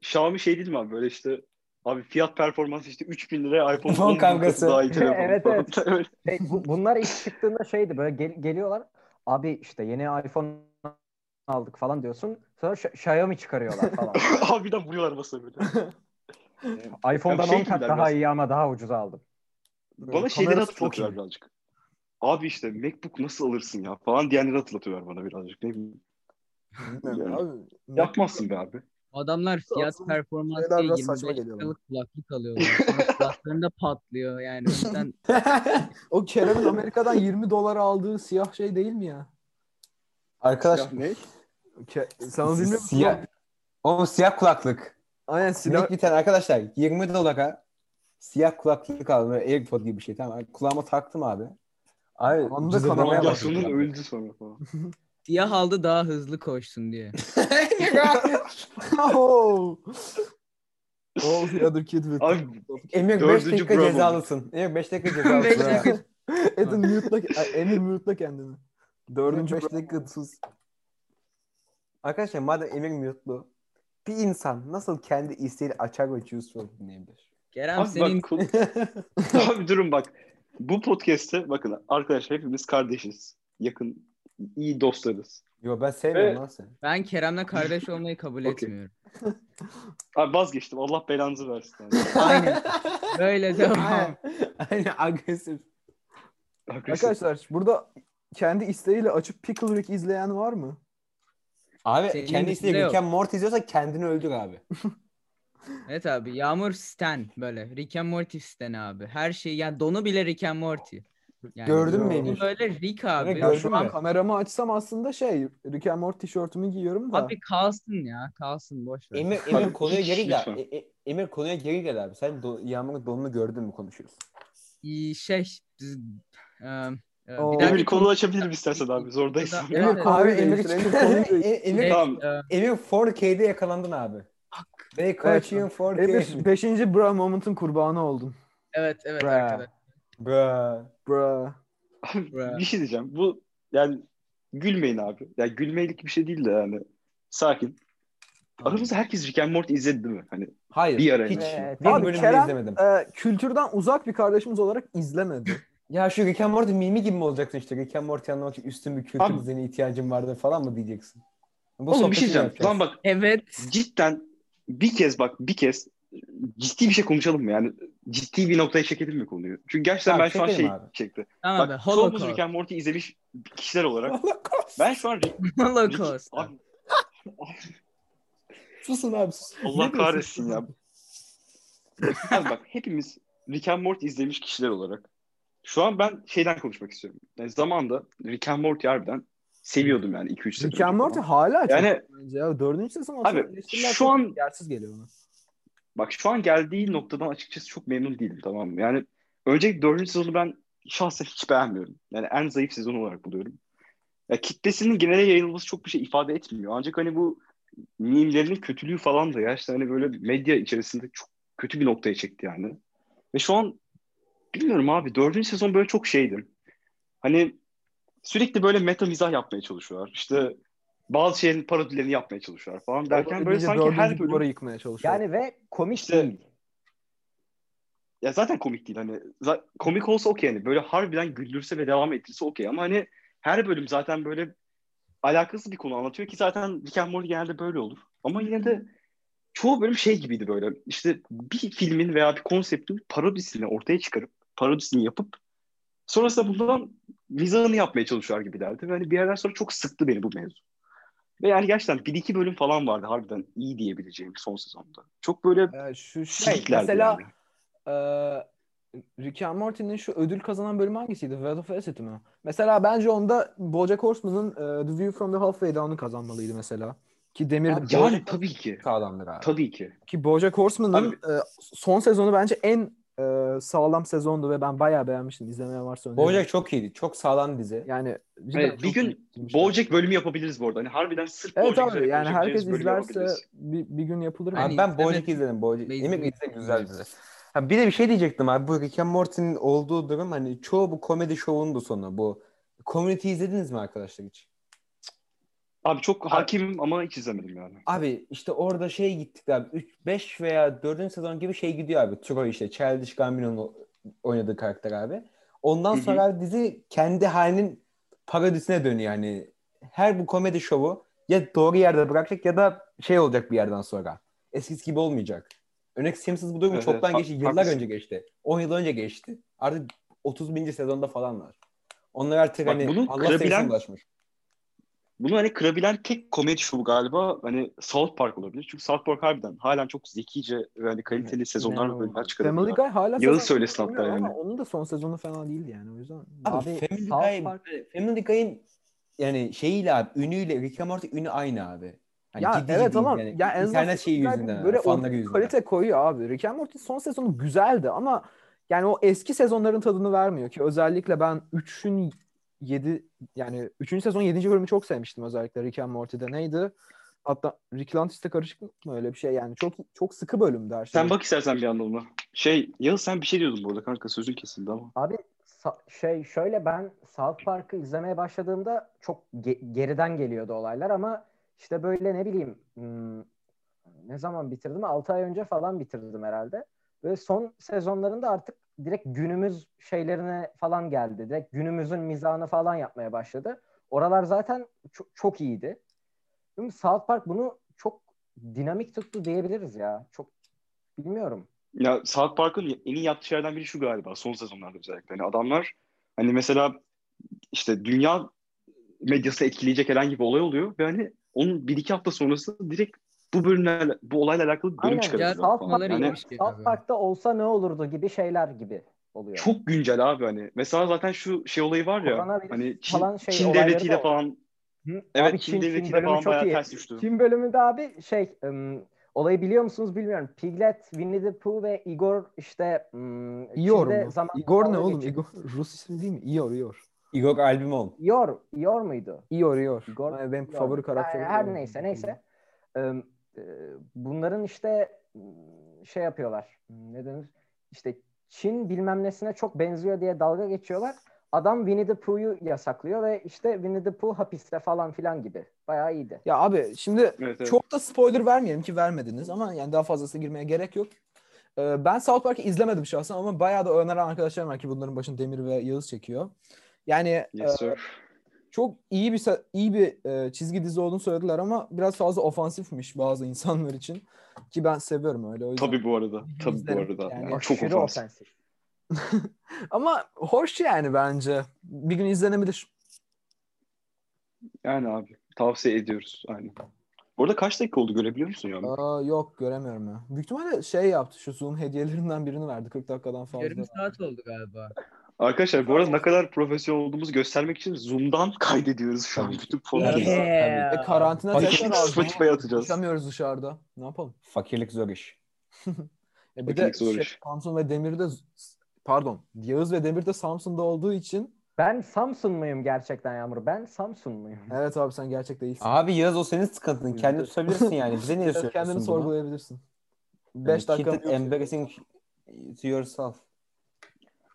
S4: Xiaomi şey değil mi abi böyle işte abi fiyat performansı işte 3000 liraya iPhone
S2: Telefon
S4: 10 bin
S2: kavgası.
S4: katı daha iyi telefon.
S5: Evet,
S4: falan.
S5: evet.
S4: Öyle.
S5: Şey, bu- bunlar ilk çıktığında şeydi böyle gel- geliyorlar. Abi işte yeni iPhone aldık falan diyorsun. Sonra Ş- Xiaomi çıkarıyorlar falan.
S4: abi bir de vuruyorlar masaya böyle.
S5: iPhone'dan
S4: Ya şey
S5: 10
S4: gibiler
S5: kat daha
S4: biraz.
S5: iyi ama daha ucuz aldım.
S4: Bana şeyleri hatırlatıyorlar birazcık. Abi işte MacBook nasıl alırsın ya falan diyenleri hatırlatıyorlar bana birazcık. Ne bileyim.
S1: Bilmiyorum
S4: Yani.
S1: abi.
S4: Yapmazsın be abi.
S3: Adamlar fiyat
S1: Aslında
S3: performans
S1: şeyler
S3: diye
S1: biraz saçma
S3: 25
S1: geliyor
S3: liralık kulaklık alıyorlar. Sonra Kulaklarında patlıyor yani. O yüzden
S1: O Kerem'in Amerika'dan 20 dolara aldığı siyah şey değil mi ya?
S2: Arkadaş
S4: Ya ne?
S1: Ke- sen onu bilmiyor musun?
S2: Siyah. Oğlum siyah kulaklık.
S1: Aynen
S2: Sinek bir tane arkadaşlar 20 dolara siyah kulaklık aldım. Böyle AirPod gibi bir şey tamam. Kulağıma taktım abi. Abi
S1: Anında
S2: cızırlamaya
S1: kanamaya
S2: başladı.
S4: Radyasyonun öldü sonra falan.
S3: siyah aldı daha hızlı koşsun diye.
S1: oh. oh the other kid with
S4: Abi
S2: Emir 5
S4: Dördüncü
S2: dakika
S4: Bravo.
S2: cezalısın. Emir 5 dakika
S3: Beş
S2: cezalısın. ha.
S3: dakika.
S1: Edin mute'la, Ay, Emir mute'la kendini. Dördüncü
S2: Dördüncü beş dakika sus. Arkadaşlar madem Emir mutlu bir insan nasıl kendi isteğiyle açar ve juice WRLD dinleyebilir?
S3: Kerem
S4: Abi
S3: senin
S4: bak kul- Abi durun bak. Bu podcast'te bakın arkadaşlar hepimiz kardeşiz. Yakın iyi dostlarız.
S2: Yo ben sevmiyorum
S4: Ve-
S2: lan seni.
S3: ben Kerem'le kardeş olmayı kabul
S4: Okey.
S3: etmiyorum.
S4: Abi vazgeçtim. Allah belanızı versin. abi.
S3: Aynen. Böyle devam.
S2: Aynen agresif.
S4: Arkadaşlar,
S1: Arkadaşlar burada kendi isteğiyle açıp Pickle Rick izleyen var mı?
S2: Abi
S3: Senin
S2: kendi
S3: dışında
S2: isteğiyle
S3: yok.
S2: Rick and Morty izliyorsan kendini öldür abi.
S3: Evet abi Yağmur Stan böyle. Rick and Morty Stan abi. Her şey yani donu bile Rick and Morty. Yani
S2: Gördün mü
S1: Yo.
S2: Emir?
S3: Böyle Rick abi.
S2: Gördün
S1: Ya şu an
S2: mü?
S1: kameramı açsam aslında şey Rick and Morty tişörtümü giyiyorum da.
S3: Abi kalsın ya. Kalsın boş ver.
S2: Emir, Emir
S4: Abi,
S2: konuya
S4: hiç,
S2: geri gel.
S4: lütfen.
S2: E- e- Emir konuya geri gel abi. Sen do Yağmur'un donunu gördün mü konuşuyorsun?
S3: İyi, Şey. biz- e, e, bir
S1: Oo.
S3: dahaki
S4: Emir konu açabilirim istersen abi. Zordayız.
S3: Burada-
S1: Emir
S3: Evet.
S1: konuyu
S2: Abi, Emir,
S1: değiştir, Emir konuyu
S2: Emir,
S1: değiştir.
S2: Emir,
S4: Tamam.
S3: e,
S2: Emir 4K'de yakalandın abi. They
S1: Evet.
S2: caught you in 4K.
S1: Emir 5. bra moment'ın kurbanı oldun.
S3: evet evet
S2: Bra.
S3: arkadaşlar.
S2: Bruh.
S1: Bra.
S3: Bra.
S4: Bir şey diyeceğim. Bu yani gülmeyin abi. Yani gülmelik bir şey değil de yani. Sakin. Aramızda herkes Rick and Morty izledi değil mi? Hani
S2: Hayır.
S4: Bir ara
S2: Hiç.
S5: Evet.
S2: Bir
S1: Abi,
S2: bölümünü
S1: Kerem-
S2: izlemedim.
S1: Ee, kültürden uzak bir kardeşimiz olarak izlemedi.
S2: Ya şu Rick and Morty mimi gibi mi olacaksın işte? Rick and Morty anlamak için üstün bir kültür
S4: Abi-
S2: düzeni ihtiyacın vardı falan mı diyeceksin? Bu
S4: Oğlum bir
S2: sohbeti
S4: şey diyeceğim.
S2: yapacağız.
S4: Lan bak
S3: Evet.
S4: cidden bir kez bak bir kez ciddi bir şey konuşalım mı? Yani ciddi bir noktaya çekelim mi konuyu? Çünkü gerçekten
S2: Tamam,
S4: ben şu an
S2: çekelim
S4: şey
S2: abi.
S4: çekti.
S3: Tamam
S4: Bak
S3: abi.
S4: çoğumuz Rick
S3: Holocaust.
S4: and Morty izlemiş kişiler olarak.
S2: Allah kahretsin.
S4: Ben şu an Rick, Rick-
S3: Holocaust.
S4: Abi,
S2: Susun abi sus.
S4: Allah
S2: Ne diyorsun?
S4: kahretsin ya. Abi bak hepimiz Rick and Morty izlemiş kişiler olarak. Şu an ben şeyden konuşmak istiyorum. Yani zamanda Rick and Morty harbiden seviyordum yani 2-3 sene.
S1: Rick and
S4: önce
S1: Morty
S4: falan.
S1: hala çok
S4: Yani
S1: bence ya. Dördüncü sezon
S4: Abi,
S1: aslında eleştiriler
S4: şu
S1: çok
S4: an-
S1: yersiz geliyor bana.
S4: Bak şu an geldiği noktadan açıkçası çok memnun değilim tamam mı? Yani önceki dördüncü sezonu ben şahsen hiç beğenmiyorum. Yani en zayıf sezon olarak buluyorum. Ya kitlesinin genele yayılması çok bir şey ifade etmiyor. Ancak hani bu mimlerinin kötülüğü falan da gerçekten hani böyle medya içerisinde çok kötü bir noktaya çekti yani. Ve şu an bilmiyorum abi dördüncü sezon böyle çok şeydi. Hani sürekli böyle meta mizah yapmaya çalışıyorlar. İşte bazı şeylerin parodilerini yapmaya çalışıyorlar falan derken böyle
S1: Bizi
S4: sanki her
S1: dördüncü
S4: bölüm
S1: duvara yıkmaya çalışıyor.
S5: Yani ve komik
S4: İşte-
S5: değil.
S4: Ya zaten komik değil hani. Za- komik olsa okey hani. Böyle harbiden güldürse ve devam ettirse okey. Ama hani her bölüm zaten böyle alakasız bir konu anlatıyor ki zaten Rick and Morty genelde böyle olur. Ama yine de çoğu bölüm şey gibiydi böyle. İşte bir filmin veya bir konseptin parodisini ortaya çıkarıp, parodisini yapıp sonrasında bundan mizahını yapmaya çalışıyorlar gibilerdi. Ve hani bir yerden sonra çok sıktı beni bu mevzu. Ve yani gerçekten bir iki bölüm falan vardı harbiden iyi diyebileceğim son sezonda. Çok böyle
S1: Ee, şu şey
S4: şiklerdi
S1: mesela
S4: yani.
S1: eee Rick and Morty'nin şu ödül kazanan bölümü hangisiydi? World of Acid mi? Mesela bence onda BoJack Horseman'ın eee, The View from the Halfway Down'u kazanmalıydı mesela. Ki Demir
S2: Abi,
S1: Bo-
S4: Yani tabii ki.
S2: Sağlamdır abi.
S4: Tabii ki.
S1: ki BoJack Horseman'ın
S4: Abi-
S1: eee, son sezonu bence en eee, sağlam sezondu ve ben bayağı beğenmiştim. İzlemeye varsa öneririm.
S2: Bojack çok iyiydi. Çok sağlam dizi.
S1: yani cidden
S4: Evet, bir
S1: çok iyi
S4: gün
S1: bitirmişler.
S4: Bojack bölümü yapabiliriz bu arada. Hani harbiden sırf
S1: Evet
S4: Bojack
S1: abi
S4: üzerine
S1: yani
S4: konuşabileceğimiz
S1: herkes
S4: bölümü
S1: izlerse
S4: yapabiliriz.
S1: bir, bir gün yapılır.
S3: Hani
S2: Abi ben Bojack
S3: izlemek-
S2: izledim. Bojack.
S3: Ben
S2: Emir
S3: izledim.
S2: izle güzel dizi. Ha, bir de bir şey diyecektim abi. Bu Rick and Morty'nin olduğu durum hani çoğu bu komedi şovunun da sonu. Bu Community izlediniz mi arkadaşlar hiç?
S4: Abi çok hakimim ama hiç izlemedim yani.
S2: Abi işte orada şey gittik abi. 3 5 veya 4. sezon gibi şey gidiyor abi. Troy işte Childish Gambino'nun oynadığı karakter abi. Ondan
S4: Hı hı.
S2: sonra abi dizi kendi halinin parodisine dönüyor yani. Her bu komedi şovu ya doğru yerde bırakacak ya da şey olacak bir yerden sonra. Eskisi gibi olmayacak. Örnek Simpsons bu durum
S4: Evet,
S2: çoktan
S4: evet,
S2: geçti.
S4: hak-
S2: Yıllar
S4: haklısın.
S2: önce geçti. 10 yıl önce geçti. Artık 30. sezonda falanlar. Onlar artık
S4: Bak
S2: hani
S4: bunu
S2: Allah
S4: kırabilen-
S2: sayısına ulaşmış.
S4: Bunu hani kırabilen tek komedi şovu galiba hani South Park olabilir. Çünkü South Park harbiden halen çok zekice ve hani kaliteli sezonlar ve
S5: İnanılmaz.
S4: bölümler
S1: Family
S4: çıkarıyor.
S1: Guy hala
S4: Yağız
S1: sezon
S4: söylesin hatta
S1: bilmiyorum
S4: yani.
S1: Ama onun da son sezonu fena değildi yani o yüzden.
S2: Abi,
S5: Abi,
S2: Family
S5: South
S2: Guy-
S5: Park-
S2: Family Guy'in yani şeyiyle abi, ünüyle Rick and Morty ünü aynı abi. Hani
S1: ya
S2: ciddi
S1: evet
S2: ciddi
S1: ama
S2: yani
S1: ya en azından
S2: internet şeyi
S1: Family Guy
S2: yüzünden,
S1: böyle
S2: böyle
S1: o
S2: fanları yüzünden.
S1: kalite koyuyor abi. Rick and Morty son sezonu güzeldi ama yani o eski sezonların tadını vermiyor ki özellikle ben 3'ün 7 yani 3. sezon 7. bölümü çok sevmiştim özellikle Rick and Morty'de neydi? Hatta Rick Lantis'te karışıklık mı öyle bir şey yani çok çok sıkı bölümdü her şey.
S4: Sen bak istersen bir anda ona. Şey Yağız sen bir şey diyordun burada kanka sözün kesildi ama.
S5: Abi sa- şey şöyle ben South Park'ı izlemeye başladığımda çok ge- geriden geliyordu olaylar ama işte böyle ne bileyim hmm, ne zaman bitirdim? 6 ay önce falan bitirdim herhalde. Böyle son sezonlarında artık direkt günümüz şeylerine falan geldi. Direkt günümüzün mizahını falan yapmaya başladı. Oralar zaten çok, çok iyiydi. Değil mi? South Park bunu çok dinamik tuttu diyebiliriz ya. Çok bilmiyorum.
S4: Ya South Park'ın en iyi yaptığı şeylerden biri şu galiba son sezonlarda özellikle. Hani adamlar hani mesela işte dünya medyası etkileyecek herhangi bir olay oluyor ve hani onun bir iki hafta sonrası direkt bu bölümlerle, bu olayla alakalı bir bölüm
S5: Aynen.
S3: Ya,
S4: çıkarıyorlar
S5: şey
S4: falan.
S5: South Park'ta,
S4: Yani
S3: iyiymiş ki.
S5: South Park'ta olsa ne olurdu gibi şeyler gibi oluyor.
S4: Çok güncel abi hani. Mesela zaten şu şey olayı var ya.
S5: Koronavirüs
S4: Hani Çin,
S5: falan şey
S4: Çin
S5: olayları
S4: devletiyle
S5: da-
S4: falan.
S5: Hı?
S4: Evet
S5: Abi
S4: Çin,
S5: Çin- Çin
S4: devletiyle
S5: bölümü
S4: falan
S5: çok
S4: bayağı
S5: iyi.
S4: ters düştü.
S5: Çin bölümünde abi şey ım, olayı biliyor musunuz bilmiyorum. Piglet, Winnie the Pooh ve Igor işte ım,
S1: Igor
S5: Çin'de
S1: mu?
S5: zaman-
S1: Igor ne
S5: dalga
S1: oğlum?
S5: geçirdi.
S1: Igor Rus ismi değil mi? Igor, Igor.
S2: Igor Albimon.
S5: Igor, Igor muydu?
S1: Igor, Igor.
S5: Igor-
S1: Ama benim
S5: Igor.
S1: favori karakterim.
S5: Yani her
S1: Igor.
S5: neyse neyse. Im, e, bunların işte ım, şey yapıyorlar. Ne denir? İşte Çin bilmem nesine çok benziyor diye dalga geçiyorlar. Adam Winnie the Pooh'yu yasaklıyor ve işte Winnie the Pooh hapiste falan filan gibi. Bayağı iyiydi.
S1: Ya abi şimdi
S4: Evet, evet.
S1: Çok da spoiler vermeyelim ki vermediniz ama yani daha fazlasına girmeye gerek yok. Ee, ben South Park'ı izlemedim şahsen ama bayağı da öneren arkadaşlarım var ki bunların başını Demir ve Yağız çekiyor. Yani
S4: Yes
S1: e,
S4: sir.
S1: çok iyi bir se- iyi bir e, çizgi dizi olduğunu söylediler ama biraz fazla ofansifmiş bazı insanlar için ki ben seviyorum öyle o yüzden.
S4: Tabii bu arada. Tabii bu
S1: İzlerim
S4: arada.
S1: yani.
S4: Yani çok
S5: Aşırı
S4: ofansif.
S5: ofensif.
S1: Ama hoş yani bence. Bir gün izlenebilir.
S4: Yani abi tavsiye ediyoruz. Aynen. Bu arada kaç dakika oldu görebiliyor musun ya?
S1: Aa, yok göremiyorum ya. Büyük ihtimalle şey yaptı şu Zoom hediyelerinden birini verdi 40 dakikadan fazla.
S3: Yarım saat oldu galiba.
S4: Arkadaşlar bu arada ne kadar profesyonel olduğumuzu göstermek için Zoom'dan kaydediyoruz şu an
S2: Tabii.
S4: bütün podcast'ı.
S2: Evet.
S1: E, karantina
S2: Fakir-
S1: tekrar aldı.
S4: Spotify'a atacağız.
S1: Konuşamıyoruz dışarıda. Ne yapalım?
S2: Fakirlik zor iş.
S1: E bir de
S4: Makinelik zor
S1: şey,
S4: iş.
S1: Samsun ve Demir de pardon Yağız ve Demir de Samsun'da olduğu için
S5: Ben Samsun muyum gerçekten Yağmur? Ben Samsun muyum?
S1: evet abi sen gerçek değilsin.
S2: Abi Yağız o senin sıkıntın. Kendini tutabilirsin yani. Bize niye
S1: Biraz
S2: söylüyorsun
S1: kendini
S2: bunu?
S1: sorgulayabilirsin. 5
S2: Beş
S1: dakika
S2: Keep it embarrassing to yourself.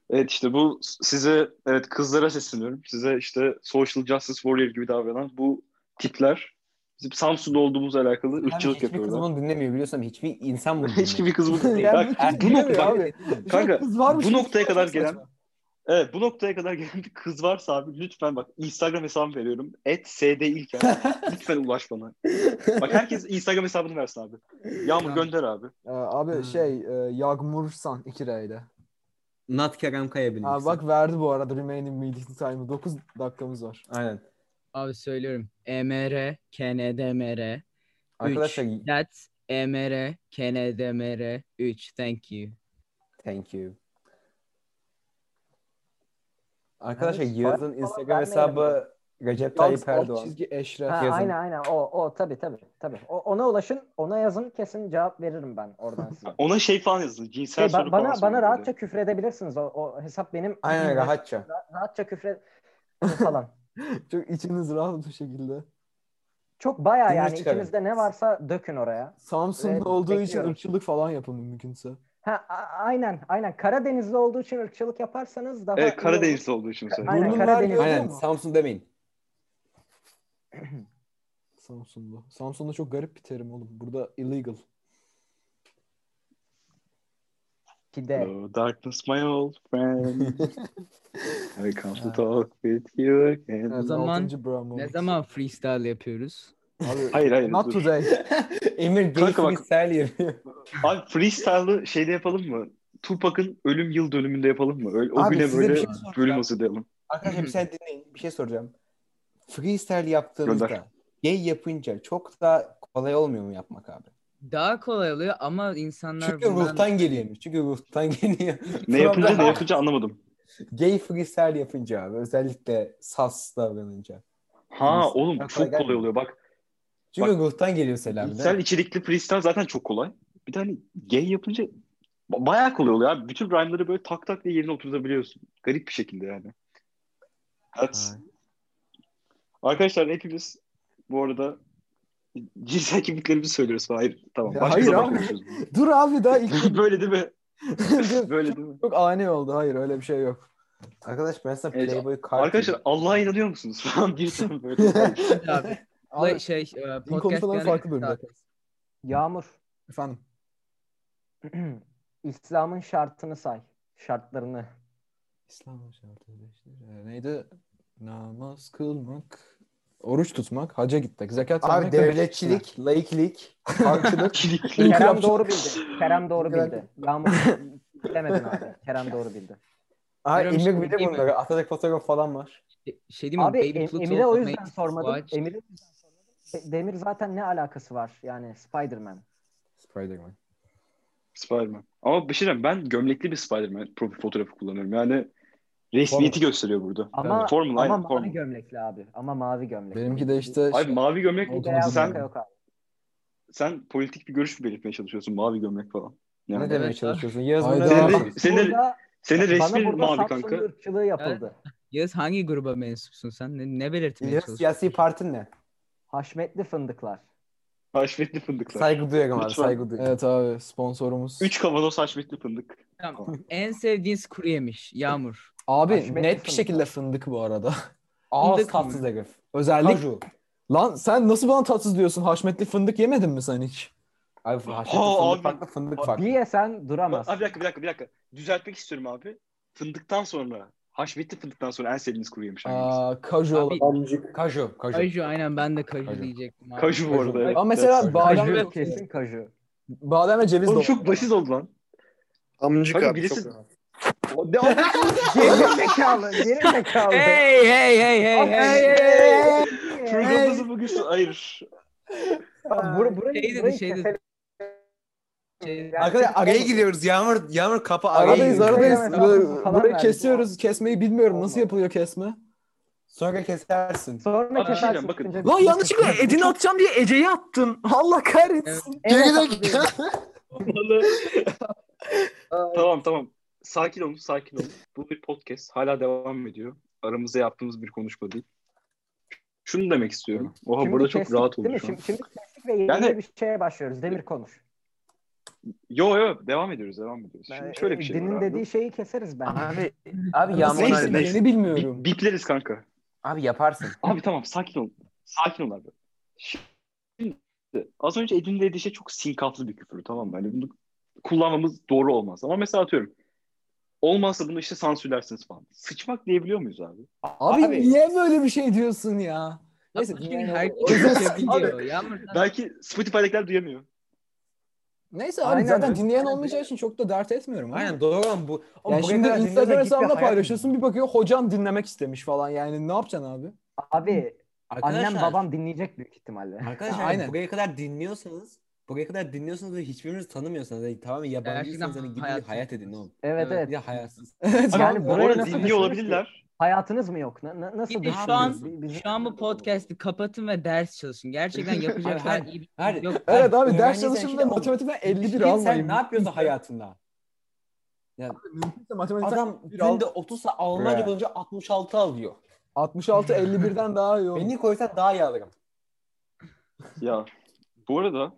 S4: Evet işte bu size evet kızlara sesleniyorum. Size işte social justice warrior gibi davranan bu tipler bizim Samsun'da olduğumuzla alakalı
S2: Abi
S4: ırkçılık
S2: hiçbir kız
S4: yapıyorlar.
S2: bunu dinlemiyor biliyorsun. Hiçbir insan bunu dinlemiyor.
S4: Hiçbir kız bunu değil.
S1: Yani
S4: Bak,
S1: bu
S2: er-
S1: kız
S4: bu
S1: bilmiyor
S4: noktada-
S1: abi. Bir
S4: Kanka,
S1: kız varmış
S4: bu
S1: gibi
S4: noktaya
S1: şey çok
S4: kadar
S1: saçma.
S4: gelen- evet bu noktaya kadar gelen bir kız varsa abi lütfen bak Instagram hesabımı veriyorum. Et SD İlker. lütfen ulaş bana. Bak herkes Instagram hesabını versin abi. Yağmur gönder abi.
S1: Ee, abi
S4: Hmm.
S2: Ha.
S1: şey e, Yagmursan 2 reyle.
S2: Nat Kerem Kaya bilirsin.
S1: Abi bak verdi bu arada remaining meeting time'ı 9 dakikamız var.
S2: Aynen.
S3: Abi söylüyorum. E EMR, KNDMR, 3.
S2: Arkadaşlar
S3: That's E EMR, KNDMR, 3. Thank you.
S2: thank you. Arkadaşlar
S5: Evet,
S2: Yağız'ın
S5: falan
S2: Instagram
S5: vermeyelim.
S2: hesabı Recep
S1: Yağız
S2: Tayyip
S1: alt
S2: Erdoğan.
S1: çizgi Eşref.
S5: Ha,
S2: yazın.
S5: aynen aynen o o tabii tabii tabii. O- ona ulaşın, ona yazın kesin cevap veririm ben oradan size.
S4: Ona şey falan yazın.
S5: Şey,
S4: Cinsel
S5: ba-
S4: soru falan
S5: bana
S4: sorun
S5: bana
S4: dedi.
S5: rahatça küfür edebilirsiniz. O, o hesap benim.
S2: Aynen rahatça.
S5: Rahatça küfür falan.
S1: Çok içiniz rahat bir şekilde.
S5: Çok bayağı
S2: Dinle
S5: yani
S2: çıkarın.
S5: içinizde ne varsa dökün oraya.
S1: Samsun'da
S5: Evet,
S1: olduğu için
S5: bekliyorum.
S1: ırkçılık falan yapın mümkünse.
S5: Ha a- aynen aynen Karadenizli olduğu için ırkçılık yaparsanız daha
S4: Evet
S5: iyi olur.
S4: Karadenizli olduğu için söylüyorum.
S5: Aynen,
S1: Burnun
S5: Karadeniz-
S1: vermiyor
S2: Aynen
S1: ama.
S2: Samsun demeyin.
S1: Samsun'da. Samsun'da çok garip bir terim oğlum. Burada illegal.
S5: Pide.
S4: Hello, darkness, my old friend. I come to talk with you again.
S1: Evet,
S3: zaman-
S1: altıncı Brown
S3: Ne
S1: moment.
S3: zaman freestyle yapıyoruz?
S1: Abi,
S4: Hayır hayır.
S1: not
S4: dur.
S1: today.
S2: Emir gay
S4: Kanka bak-
S2: freestyle yapıyor.
S4: Abi freestyle'ı şeyde yapalım mı? Tupac'ın ölüm yıl dönümünde yapalım mı? Öyle, o
S2: Abi,
S4: güne
S2: size
S4: böyle
S2: bir şey soracağım.
S4: bölüm hazırlayalım.
S2: Arkadaşlar bir şey dinleyin. Bir şey soracağım. Freestyle yaptığınızda
S4: Gönder.
S2: gay yapınca çok daha kolay olmuyor mu yapmak abi?
S3: Daha kolay oluyor ama insanlar
S2: Çünkü ruhtan geliyormuş. Çünkü ruhtan geliyor.
S4: Ne yapınca ne yapınca anlamadım.
S2: Gay freestyle yapınca abi. Özellikle sas davranınca.
S4: Ha
S2: Freestyle
S4: oğlum
S2: kolay
S4: çok kolay
S2: gelmiyor.
S4: oluyor. Bak
S2: Çünkü ruhtan geliyor selam. değil mi?
S4: içsel içerikli freestyle zaten çok kolay. Bir tane gay yapınca ba- bayağı kolay oluyor abi. Bütün rhyme'ları böyle tak tak diye yerine oturtabiliyorsun. Garip bir şekilde yani. Evet.
S2: Ay.
S4: Arkadaşlar hepimiz bu arada cinsel kimliklerimizi söylüyoruz. Hayır tamam.
S1: Ya
S4: Başka
S1: hayır
S4: zaman
S1: abi.
S4: konuşuruz.
S1: Dur abi daha ilk
S4: böyle değil mi?
S1: Yok,
S4: böyle değil mi?
S1: çok ani oldu. Hayır öyle bir şey yok.
S2: Arkadaş ben sana
S4: Evet,
S2: Playboy kart
S4: Arkadaşlar Allah'a inanıyor musunuz? Falan dirsem böyle.
S3: Abi,
S1: Abi,
S3: şey, e, podcast
S1: konuşmaların
S3: yani-
S1: farklı bölümde.
S5: Yağmur.
S1: Efendim.
S5: İslam'ın şartını say. Şartlarını.
S1: İslam şartı beşleri. Neydi? Namaz kılmak, oruç tutmak, haca gitmek, zekat
S2: Abi
S1: vermek.
S2: devletçilik, laiklik, halkçılık.
S4: Kilikli.
S5: Kerem doğru bildi. Kerem doğru
S2: İnkılap-
S5: bildi. Yağmur bilemedin abi. Kerem doğru bildi.
S2: Abi
S3: Kerem
S2: Emir
S3: işte
S2: bilir
S3: değil mi?
S2: bunları. Atatürk fotoğraf falan var.
S3: Şey değil mi?
S5: Abi
S3: Baby
S5: Em-
S3: Pluto,
S5: Emir'e o yüzden
S3: Amazing
S5: sormadım.
S3: Watch.
S5: Emir'e Demir zaten ne alakası var yani Spider-Man.
S2: Spider-Man.
S4: Spider-Man. Ama bir şey diyeyim, ben gömlekli bir Spider-Man profil fotoğrafı kullanıyorum. Yani resmiyeti gösteriyor burada.
S5: Ama,
S4: Formula,
S5: ama
S4: aynen,
S5: mavi
S4: formula.
S5: gömlekli abi. Ama mavi gömlekli.
S2: Benimki de işte
S4: Abi mavi gömlek
S5: Bir
S2: Oldu.
S5: beyaz
S4: Sen-
S5: yaka yok abi.
S4: sen politik bir görüş mü belirtmeye çalışıyorsun mavi gömlek falan. Yani.
S2: ne demeye
S3: Evet,
S2: çalışıyorsun? Yaz
S4: Senin
S2: bunu
S4: de,
S2: yaz.
S4: senin de-
S5: Burada-
S4: senin de resmin
S5: bana burada
S4: mavi
S5: Samsun'da
S4: kanka.
S5: ırkçılığı yapıldı.
S3: Yağız hangi gruba mensupsun sen? Ne, ne belirtmeye
S2: Yaz
S3: çalışıyorsun?
S2: siyasi partin ne?
S5: Haşmetli fındıklar.
S4: Haşmetli fındıklar.
S2: Saygı duyarım abi
S4: Lütfen.
S2: saygı duyarım.
S1: Evet abi sponsorumuz.
S4: Üç kavanoz haşmetli fındık.
S3: Tamam. En sevdiğiniz kuru yemiş. Yağmur.
S1: Abi
S5: Haşmetli
S1: net
S5: fındık.
S1: bir şekilde fındık bu arada.
S2: Ağız
S3: Fındık mı?
S2: tatsız herif.
S1: Özellik.
S2: Kaju.
S1: Lan sen nasıl bana tatsız diyorsun? Haşmetli fındık yemedin mi sen hiç?
S2: Abi haşmetli
S4: Ha,
S2: fındık
S4: abi.
S2: farklı fındık
S4: Abi,
S2: farklı.
S5: Bir yesen duramazsın.
S4: Abi bir dakika bir dakika bir dakika. Düzeltmek istiyorum abi. Fındıktan sonra haşmetli fındıktan sonra en sevdiğiniz kuru yemiş hangisi?
S1: Aa, kaju
S3: Abi,
S1: olan.
S8: Amcık.
S2: Kaju. Kaju.
S3: Kaju aynen ben de kaju,
S2: Kaju.
S3: diyecektim. abi.
S4: Kaju bu
S2: Kaju.
S4: arada. Evet.
S1: Ama mesela
S2: Kaju.
S1: badem,
S5: Kaju kesin kaju.
S1: badem ve ceviz de
S4: Oğlum
S1: olur.
S4: çok basit oldu lan.
S8: Amcık
S4: Abi
S8: abi,
S4: birisi-
S8: çok rahat.
S4: Ne
S5: Geri zekalı. Geri zekalı.
S3: Hey hey hey hey hey.
S4: Programımızı bugün ayırır.
S5: Bur burayı,
S3: Şey dedi,
S5: burayı
S3: şey dedi.
S5: keselim.
S3: Şey-
S5: Yani-
S2: Arkadaşlar araya giriyoruz. Yağmur, yağmur kapı araya
S1: Aradayız
S2: giriyor.
S1: aradayız.
S5: Mesela
S1: Böyle-
S5: falan
S1: Burayı
S5: verdik.
S1: kesiyoruz. Kesmeyi bilmiyorum. Nasıl yapılıyor kesme?
S2: Sonra kesersin.
S5: Sonra
S4: Abi,
S5: kesersin. şey
S4: şeyden bakın.
S5: Önce-
S1: Lan yanlışlıkla Edin'i atacağım diye Ece'yi attın. Allah kahretsin.
S8: Geri
S5: Evet,
S8: de
S5: abi.
S4: Tamam tamam. Sakin olun sakin olun. Bu bir podcast. Hala devam ediyor. Aramızda yaptığımız bir konuşma değil. Şunu demek istiyorum. Oha
S5: Şimdi
S4: burada çok
S5: kestik,
S4: rahat
S5: değil mi?
S4: oldu şu an.
S5: Şimdi, şimdi kestik ve yeni
S4: Yani-
S5: bir şeye başlıyoruz. Demir konuş.
S4: Yo yo devam ediyoruz devam ediyoruz.
S5: Ben- e,
S4: Şimdi şöyle bir şey
S5: Dinin
S4: var abi.
S5: dediği şeyi keseriz bence.
S2: Abi, abi
S1: Nasıl
S2: yağmur
S4: Neyse,
S1: yani
S2: abi,
S4: neyse.
S1: beni
S5: şey
S1: bilmiyorum.
S4: Bi- bipleriz kanka.
S2: abi yaparsın.
S4: Abi tamam sakin ol. Sakin ol abi. Şimdi az önce Edin dediği şey çok sinkaflı bir küfür tamam mı? Hani bunu kullanmamız doğru olmaz. Ama mesela atıyorum. Olmazsa bunu işte sansürlersiniz falan. Sıçmak diyebiliyor muyuz abi?
S1: Abi, niye böyle bir şey diyorsun ya? Neyse.
S3: Abi,
S1: dinleyen-
S3: herkes kesebiliyor. şey Yağmur
S4: Belki Spotify'dakiler duyamıyor.
S1: Neyse abi
S5: Aynen
S1: zaten
S5: öyle.
S1: dinleyen olmayacağı için çok da dert etmiyorum. Aynen.
S2: Aynen doğru ama bu. Ama
S1: Yani
S2: buraya
S1: şimdi
S2: kadar
S1: Instagram
S2: dinliyorsan git
S1: hesabına
S2: bir hayat
S1: paylaşıyorsun
S2: yürü.
S1: bir bakıyor hocam dinlemek istemiş falan yani ne yapacaksın abi?
S5: Abi
S2: Arkadaşlar,
S5: annem babam dinleyecek büyük ihtimalle.
S2: Arkadaşlar
S1: Aynen.
S2: buraya kadar dinliyorsanız buraya kadar dinliyorsanız ve hiçbirinizi tanımıyorsanız yani tamamen yabancıysanız hani gidin bir
S3: hayatsız.
S2: hayat edin oğlum.
S5: Evet
S3: Evet.
S5: evet.
S2: Bir de hayatsız.
S1: Evet,
S5: Yani
S1: abi.
S4: Bu
S5: Buraya
S4: arada
S5: nasıl
S4: dinliyor
S5: düşünürüz
S4: olabilirler.
S5: Hayatınız mı yok? Na- na- nasıl
S3: Bir de şu an-
S5: düşünüyorsunuz? Bi- bizim-
S3: Şu an bu podcast'i kapatın ve ders çalışın. Gerçekten yapacak
S2: her-
S3: her iyi bir
S2: her-
S3: yok.
S1: Evet abi
S2: Öğrenciysen
S1: ders çalışımda
S2: işte oğlum,
S1: matematikten 51
S2: Kim
S1: almayın.
S2: sen ne yapıyorsun hayatında?
S1: Mümkünse matematikten
S2: Adam
S1: Bir al-
S2: günde 30 sa- Almanca
S1: Bre.
S2: konuşunca 66 alıyor.
S1: 66 51'den daha iyi olur.
S2: Beni koysan daha iyi alırım.
S4: Ya bu arada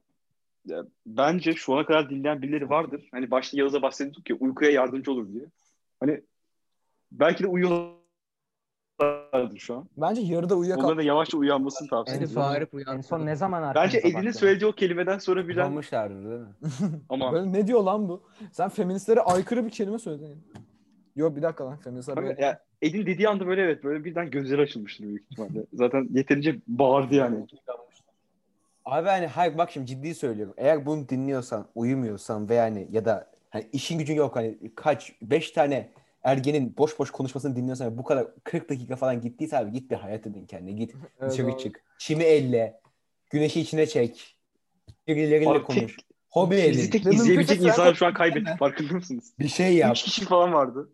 S4: ya, bence şu ana kadar dinleyen birileri vardır. Hani başta Yağız'a bahsediyorduk ya uykuya yardımcı olur diye. Hani belki de uyuyorlardır şu an.
S1: Bence yarıda uyuyakalmış.
S4: Onların da yavaşça uyanmasını tavsiye
S3: İşte
S4: ediyorum.
S3: Faruk
S5: En
S3: uyandı.
S5: son ne zaman
S4: Bence
S5: arkanıza
S4: Edin'in
S5: baktınız?
S4: söylediği o kelimeden sonra bilen
S2: Kullanmışlardır değil mi?
S4: ama
S1: Böyle ne diyor lan bu? Sen feministlere aykırı bir kelime söyledin. Yok bir dakika lan feministler
S4: Kanka,
S1: böyle.
S4: ya, Edin dediği anda böyle evet böyle birden gözleri açılmıştır büyük ihtimalle. Zaten yeterince bağırdı yani.
S2: Abi hani hayır bak şimdi ciddi söylüyorum. Eğer bunu dinliyorsan, uyumuyorsan ve yani ya da hani işin gücün yok hani kaç beş tane ergenin boş boş konuşmasını dinliyorsan ve bu kadar 40 dakika falan gittiyse abi git bir hayat edin kendine. Git
S1: Evet
S2: dışarı
S1: abi.
S2: çık. Çimi elle. Güneşi içine çek. Birileriyle
S4: Abi
S2: konuş.
S4: tek-
S2: Hobi
S4: Bizi
S2: edin.
S4: tek
S1: Mümkünse
S4: izleyebilecek
S1: sen-
S4: insanlar şu an kaybettik farkında mısınız?
S2: Bir şey yap.
S4: 3 kişi falan vardı.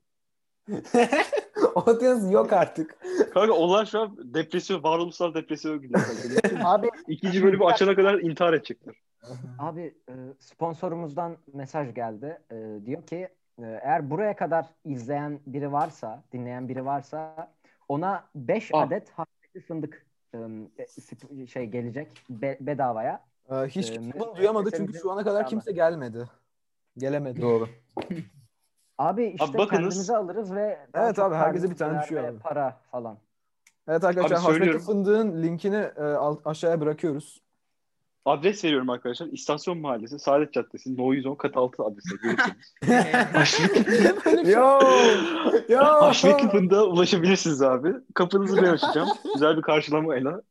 S2: O diyorsun yok artık.
S4: Kanka onlar şu an depresyon, varoluşsal depresyon günler. kanka.
S5: Abi,
S4: İkinci bölümü açana kadar intihar edecekler.
S5: abi e, sponsorumuzdan mesaj geldi. E, diyor ki e, eğer buraya kadar izleyen biri varsa, dinleyen biri varsa ona 5
S4: Aa.
S5: adet harfli fındık e, e, sp- şey gelecek be- bedavaya.
S1: Ee, hiç
S5: Ee,
S1: kimse
S5: ne-
S1: bunu duyamadı çünkü
S5: meselemizi-
S1: şu ana kadar kimse gelmedi. Gelemedi.
S2: Doğru.
S5: Abi işte
S4: bakınız.
S5: kendimize alırız ve daha
S1: Evet
S5: çok
S1: abi, herkese bir şey
S5: karnımız
S1: tane
S5: doyar
S1: düşüyor
S5: ve
S1: abi.
S5: Para falan.
S1: Evet arkadaşlar
S4: Abi
S1: Haşmetli
S4: söylüyorum.
S1: Fındık'ın linkini e, al- aşağıya bırakıyoruz.
S4: Adres veriyorum arkadaşlar. İstasyon Mahallesi, Saadet Caddesi, No 110 kat 6 adresine gelirsiniz. Haşmetli,
S1: Yo! Yo!
S4: Haşmetli Fındık'a ulaşabilirsiniz abi. Kapınızı ben açacağım. Güzel bir karşılama Ela.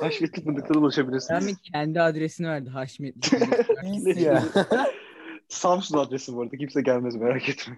S4: Haşmetli Fındık'tan
S3: Rami
S4: ulaşabilirsiniz.
S3: kendi adresini verdi Haşmetli.
S1: İyisi ya.
S4: Samsun adresi bu arada. Kimse gelmez merak etme.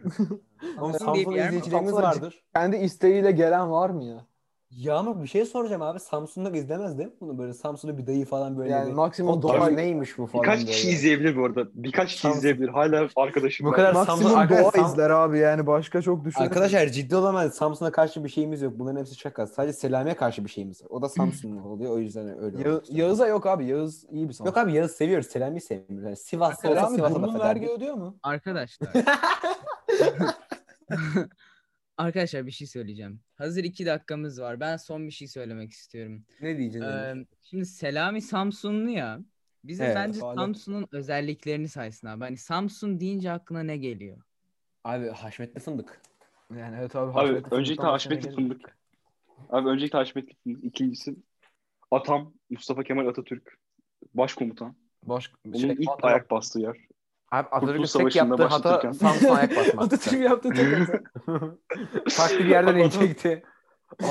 S2: Oğlum
S3: Samsun'da
S2: Samsun'da
S3: bir yer mi?
S2: izleyicilerimiz
S1: Samsun'da
S2: vardır.
S1: Kendi isteğiyle gelen var mı ya?
S2: Yağmur bir şey soracağım abi. Samsun'da izlemez değil mi bunu? Böyle Samsun'da bir dayı falan böyle.
S1: Yani
S2: bir-
S1: maksimum
S4: Tabii.
S1: doğa
S4: Abi,
S1: neymiş bu falan
S4: Birkaç
S1: böyle.
S4: kişi izleyebilir bu arada. Birkaç kişi
S2: Samsun.
S4: izleyebilir. Hala arkadaşım.
S2: Bu
S4: var.
S2: kadar Samsun
S9: Maksimum doğa
S2: arkadaşlar, Sam-
S9: izler abi yani başka çok düşünmüyorum.
S2: Arkadaşlar ciddi olamayız. Samsun'a karşı bir şeyimiz yok. Bunların hepsi şaka. Sadece Selami'ye karşı bir şeyimiz var. O da Samsunlu oluyor. O yüzden öyle.
S1: Ya-
S2: olmuş.
S1: Yağız'a yok abi. Yağız iyi bir sanatçı.
S2: Yok abi Yağız seviyoruz. Selami'yi sevmiyoruz. Yani Sivas'ta olsa
S1: Selami
S2: Sivas'a
S1: burnun
S2: laf
S1: vergi
S2: ederdik.
S1: ödüyor mu?
S3: Arkadaşlar. Arkadaşlar bir şey söyleyeceğim. Hazır iki dakikamız var. Ben son bir şey söylemek istiyorum.
S2: Ne diyeceksin?
S3: Ee, şimdi Selami Samsunlu ya. Bize
S2: Evet,
S3: bence
S1: hala-
S3: Samsun'un özelliklerini saysın abi. Hani Samsun deyince aklına ne geliyor?
S2: Abi haşmetli fındık.
S1: Yani evet abi.
S4: Abi
S1: Haşmetli
S4: öncelikle
S1: Fındık'tan başka ne
S4: Haşmetli
S1: gelir?
S4: Fındık. Abi öncelikle Haşmetli Fındık. İkincisi Atam Mustafa Kemal Atatürk. Başkomutan.
S1: Baş...
S4: Onun
S1: Şey,
S4: ilk
S1: Atatürk-
S4: ayak bastığı yer.
S10: Abi Atatürk'ün
S4: Kurtuluş
S10: tek yaptığı
S4: Savaşı'nda
S10: hata
S4: başlatırken.
S10: Samsun'a ayak basmak.
S1: Atatürk yaptı. tek hata.
S10: Farklı bir yerden
S4: Adam-
S10: inecekti.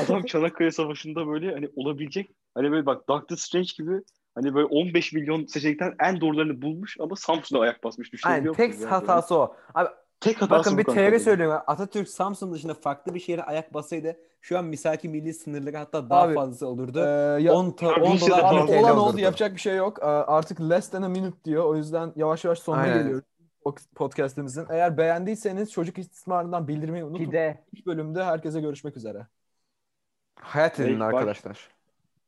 S4: Adam Çanakkale Savaşı'nda böyle hani olabilecek hani böyle bak Doctor Strange gibi hani böyle 15 milyon seçenekten en doğrularını bulmuş ama Samsun'a ayak basmış
S10: Aynen
S4: düşünebiliyor
S10: tek
S4: musunuz yani?
S10: hatası o. Abi
S4: tek hatası
S10: bakın
S4: bu
S10: bir
S4: kanka.
S10: teori söylüyorum.
S2: Atatürk Samsun dışında farklı bir şehre ayak basaydı şu an misaki milli sınırları hatta daha
S1: Abi,
S2: fazlası olurdu.
S1: Ee, ya,
S2: 10 ta-
S4: Abi
S2: 10
S4: Rusya'da
S2: dolar
S4: falan
S2: bir
S1: Abi
S4: Ahmet
S2: TL
S1: olan oldu
S2: olurdu.
S1: yapacak bir şey yok. Ee, Artık less than a minute diyor. O yüzden yavaş yavaş sonuna
S10: Aynen.
S1: geliyoruz pod- podcast'imizin. Eğer beğendiyseniz çocuk istismarından bildirmeyi unutmayın.
S11: Pide.
S1: İlk bölümde herkese görüşmek üzere.
S10: Hayat edin
S4: Bak-
S10: arkadaşlar.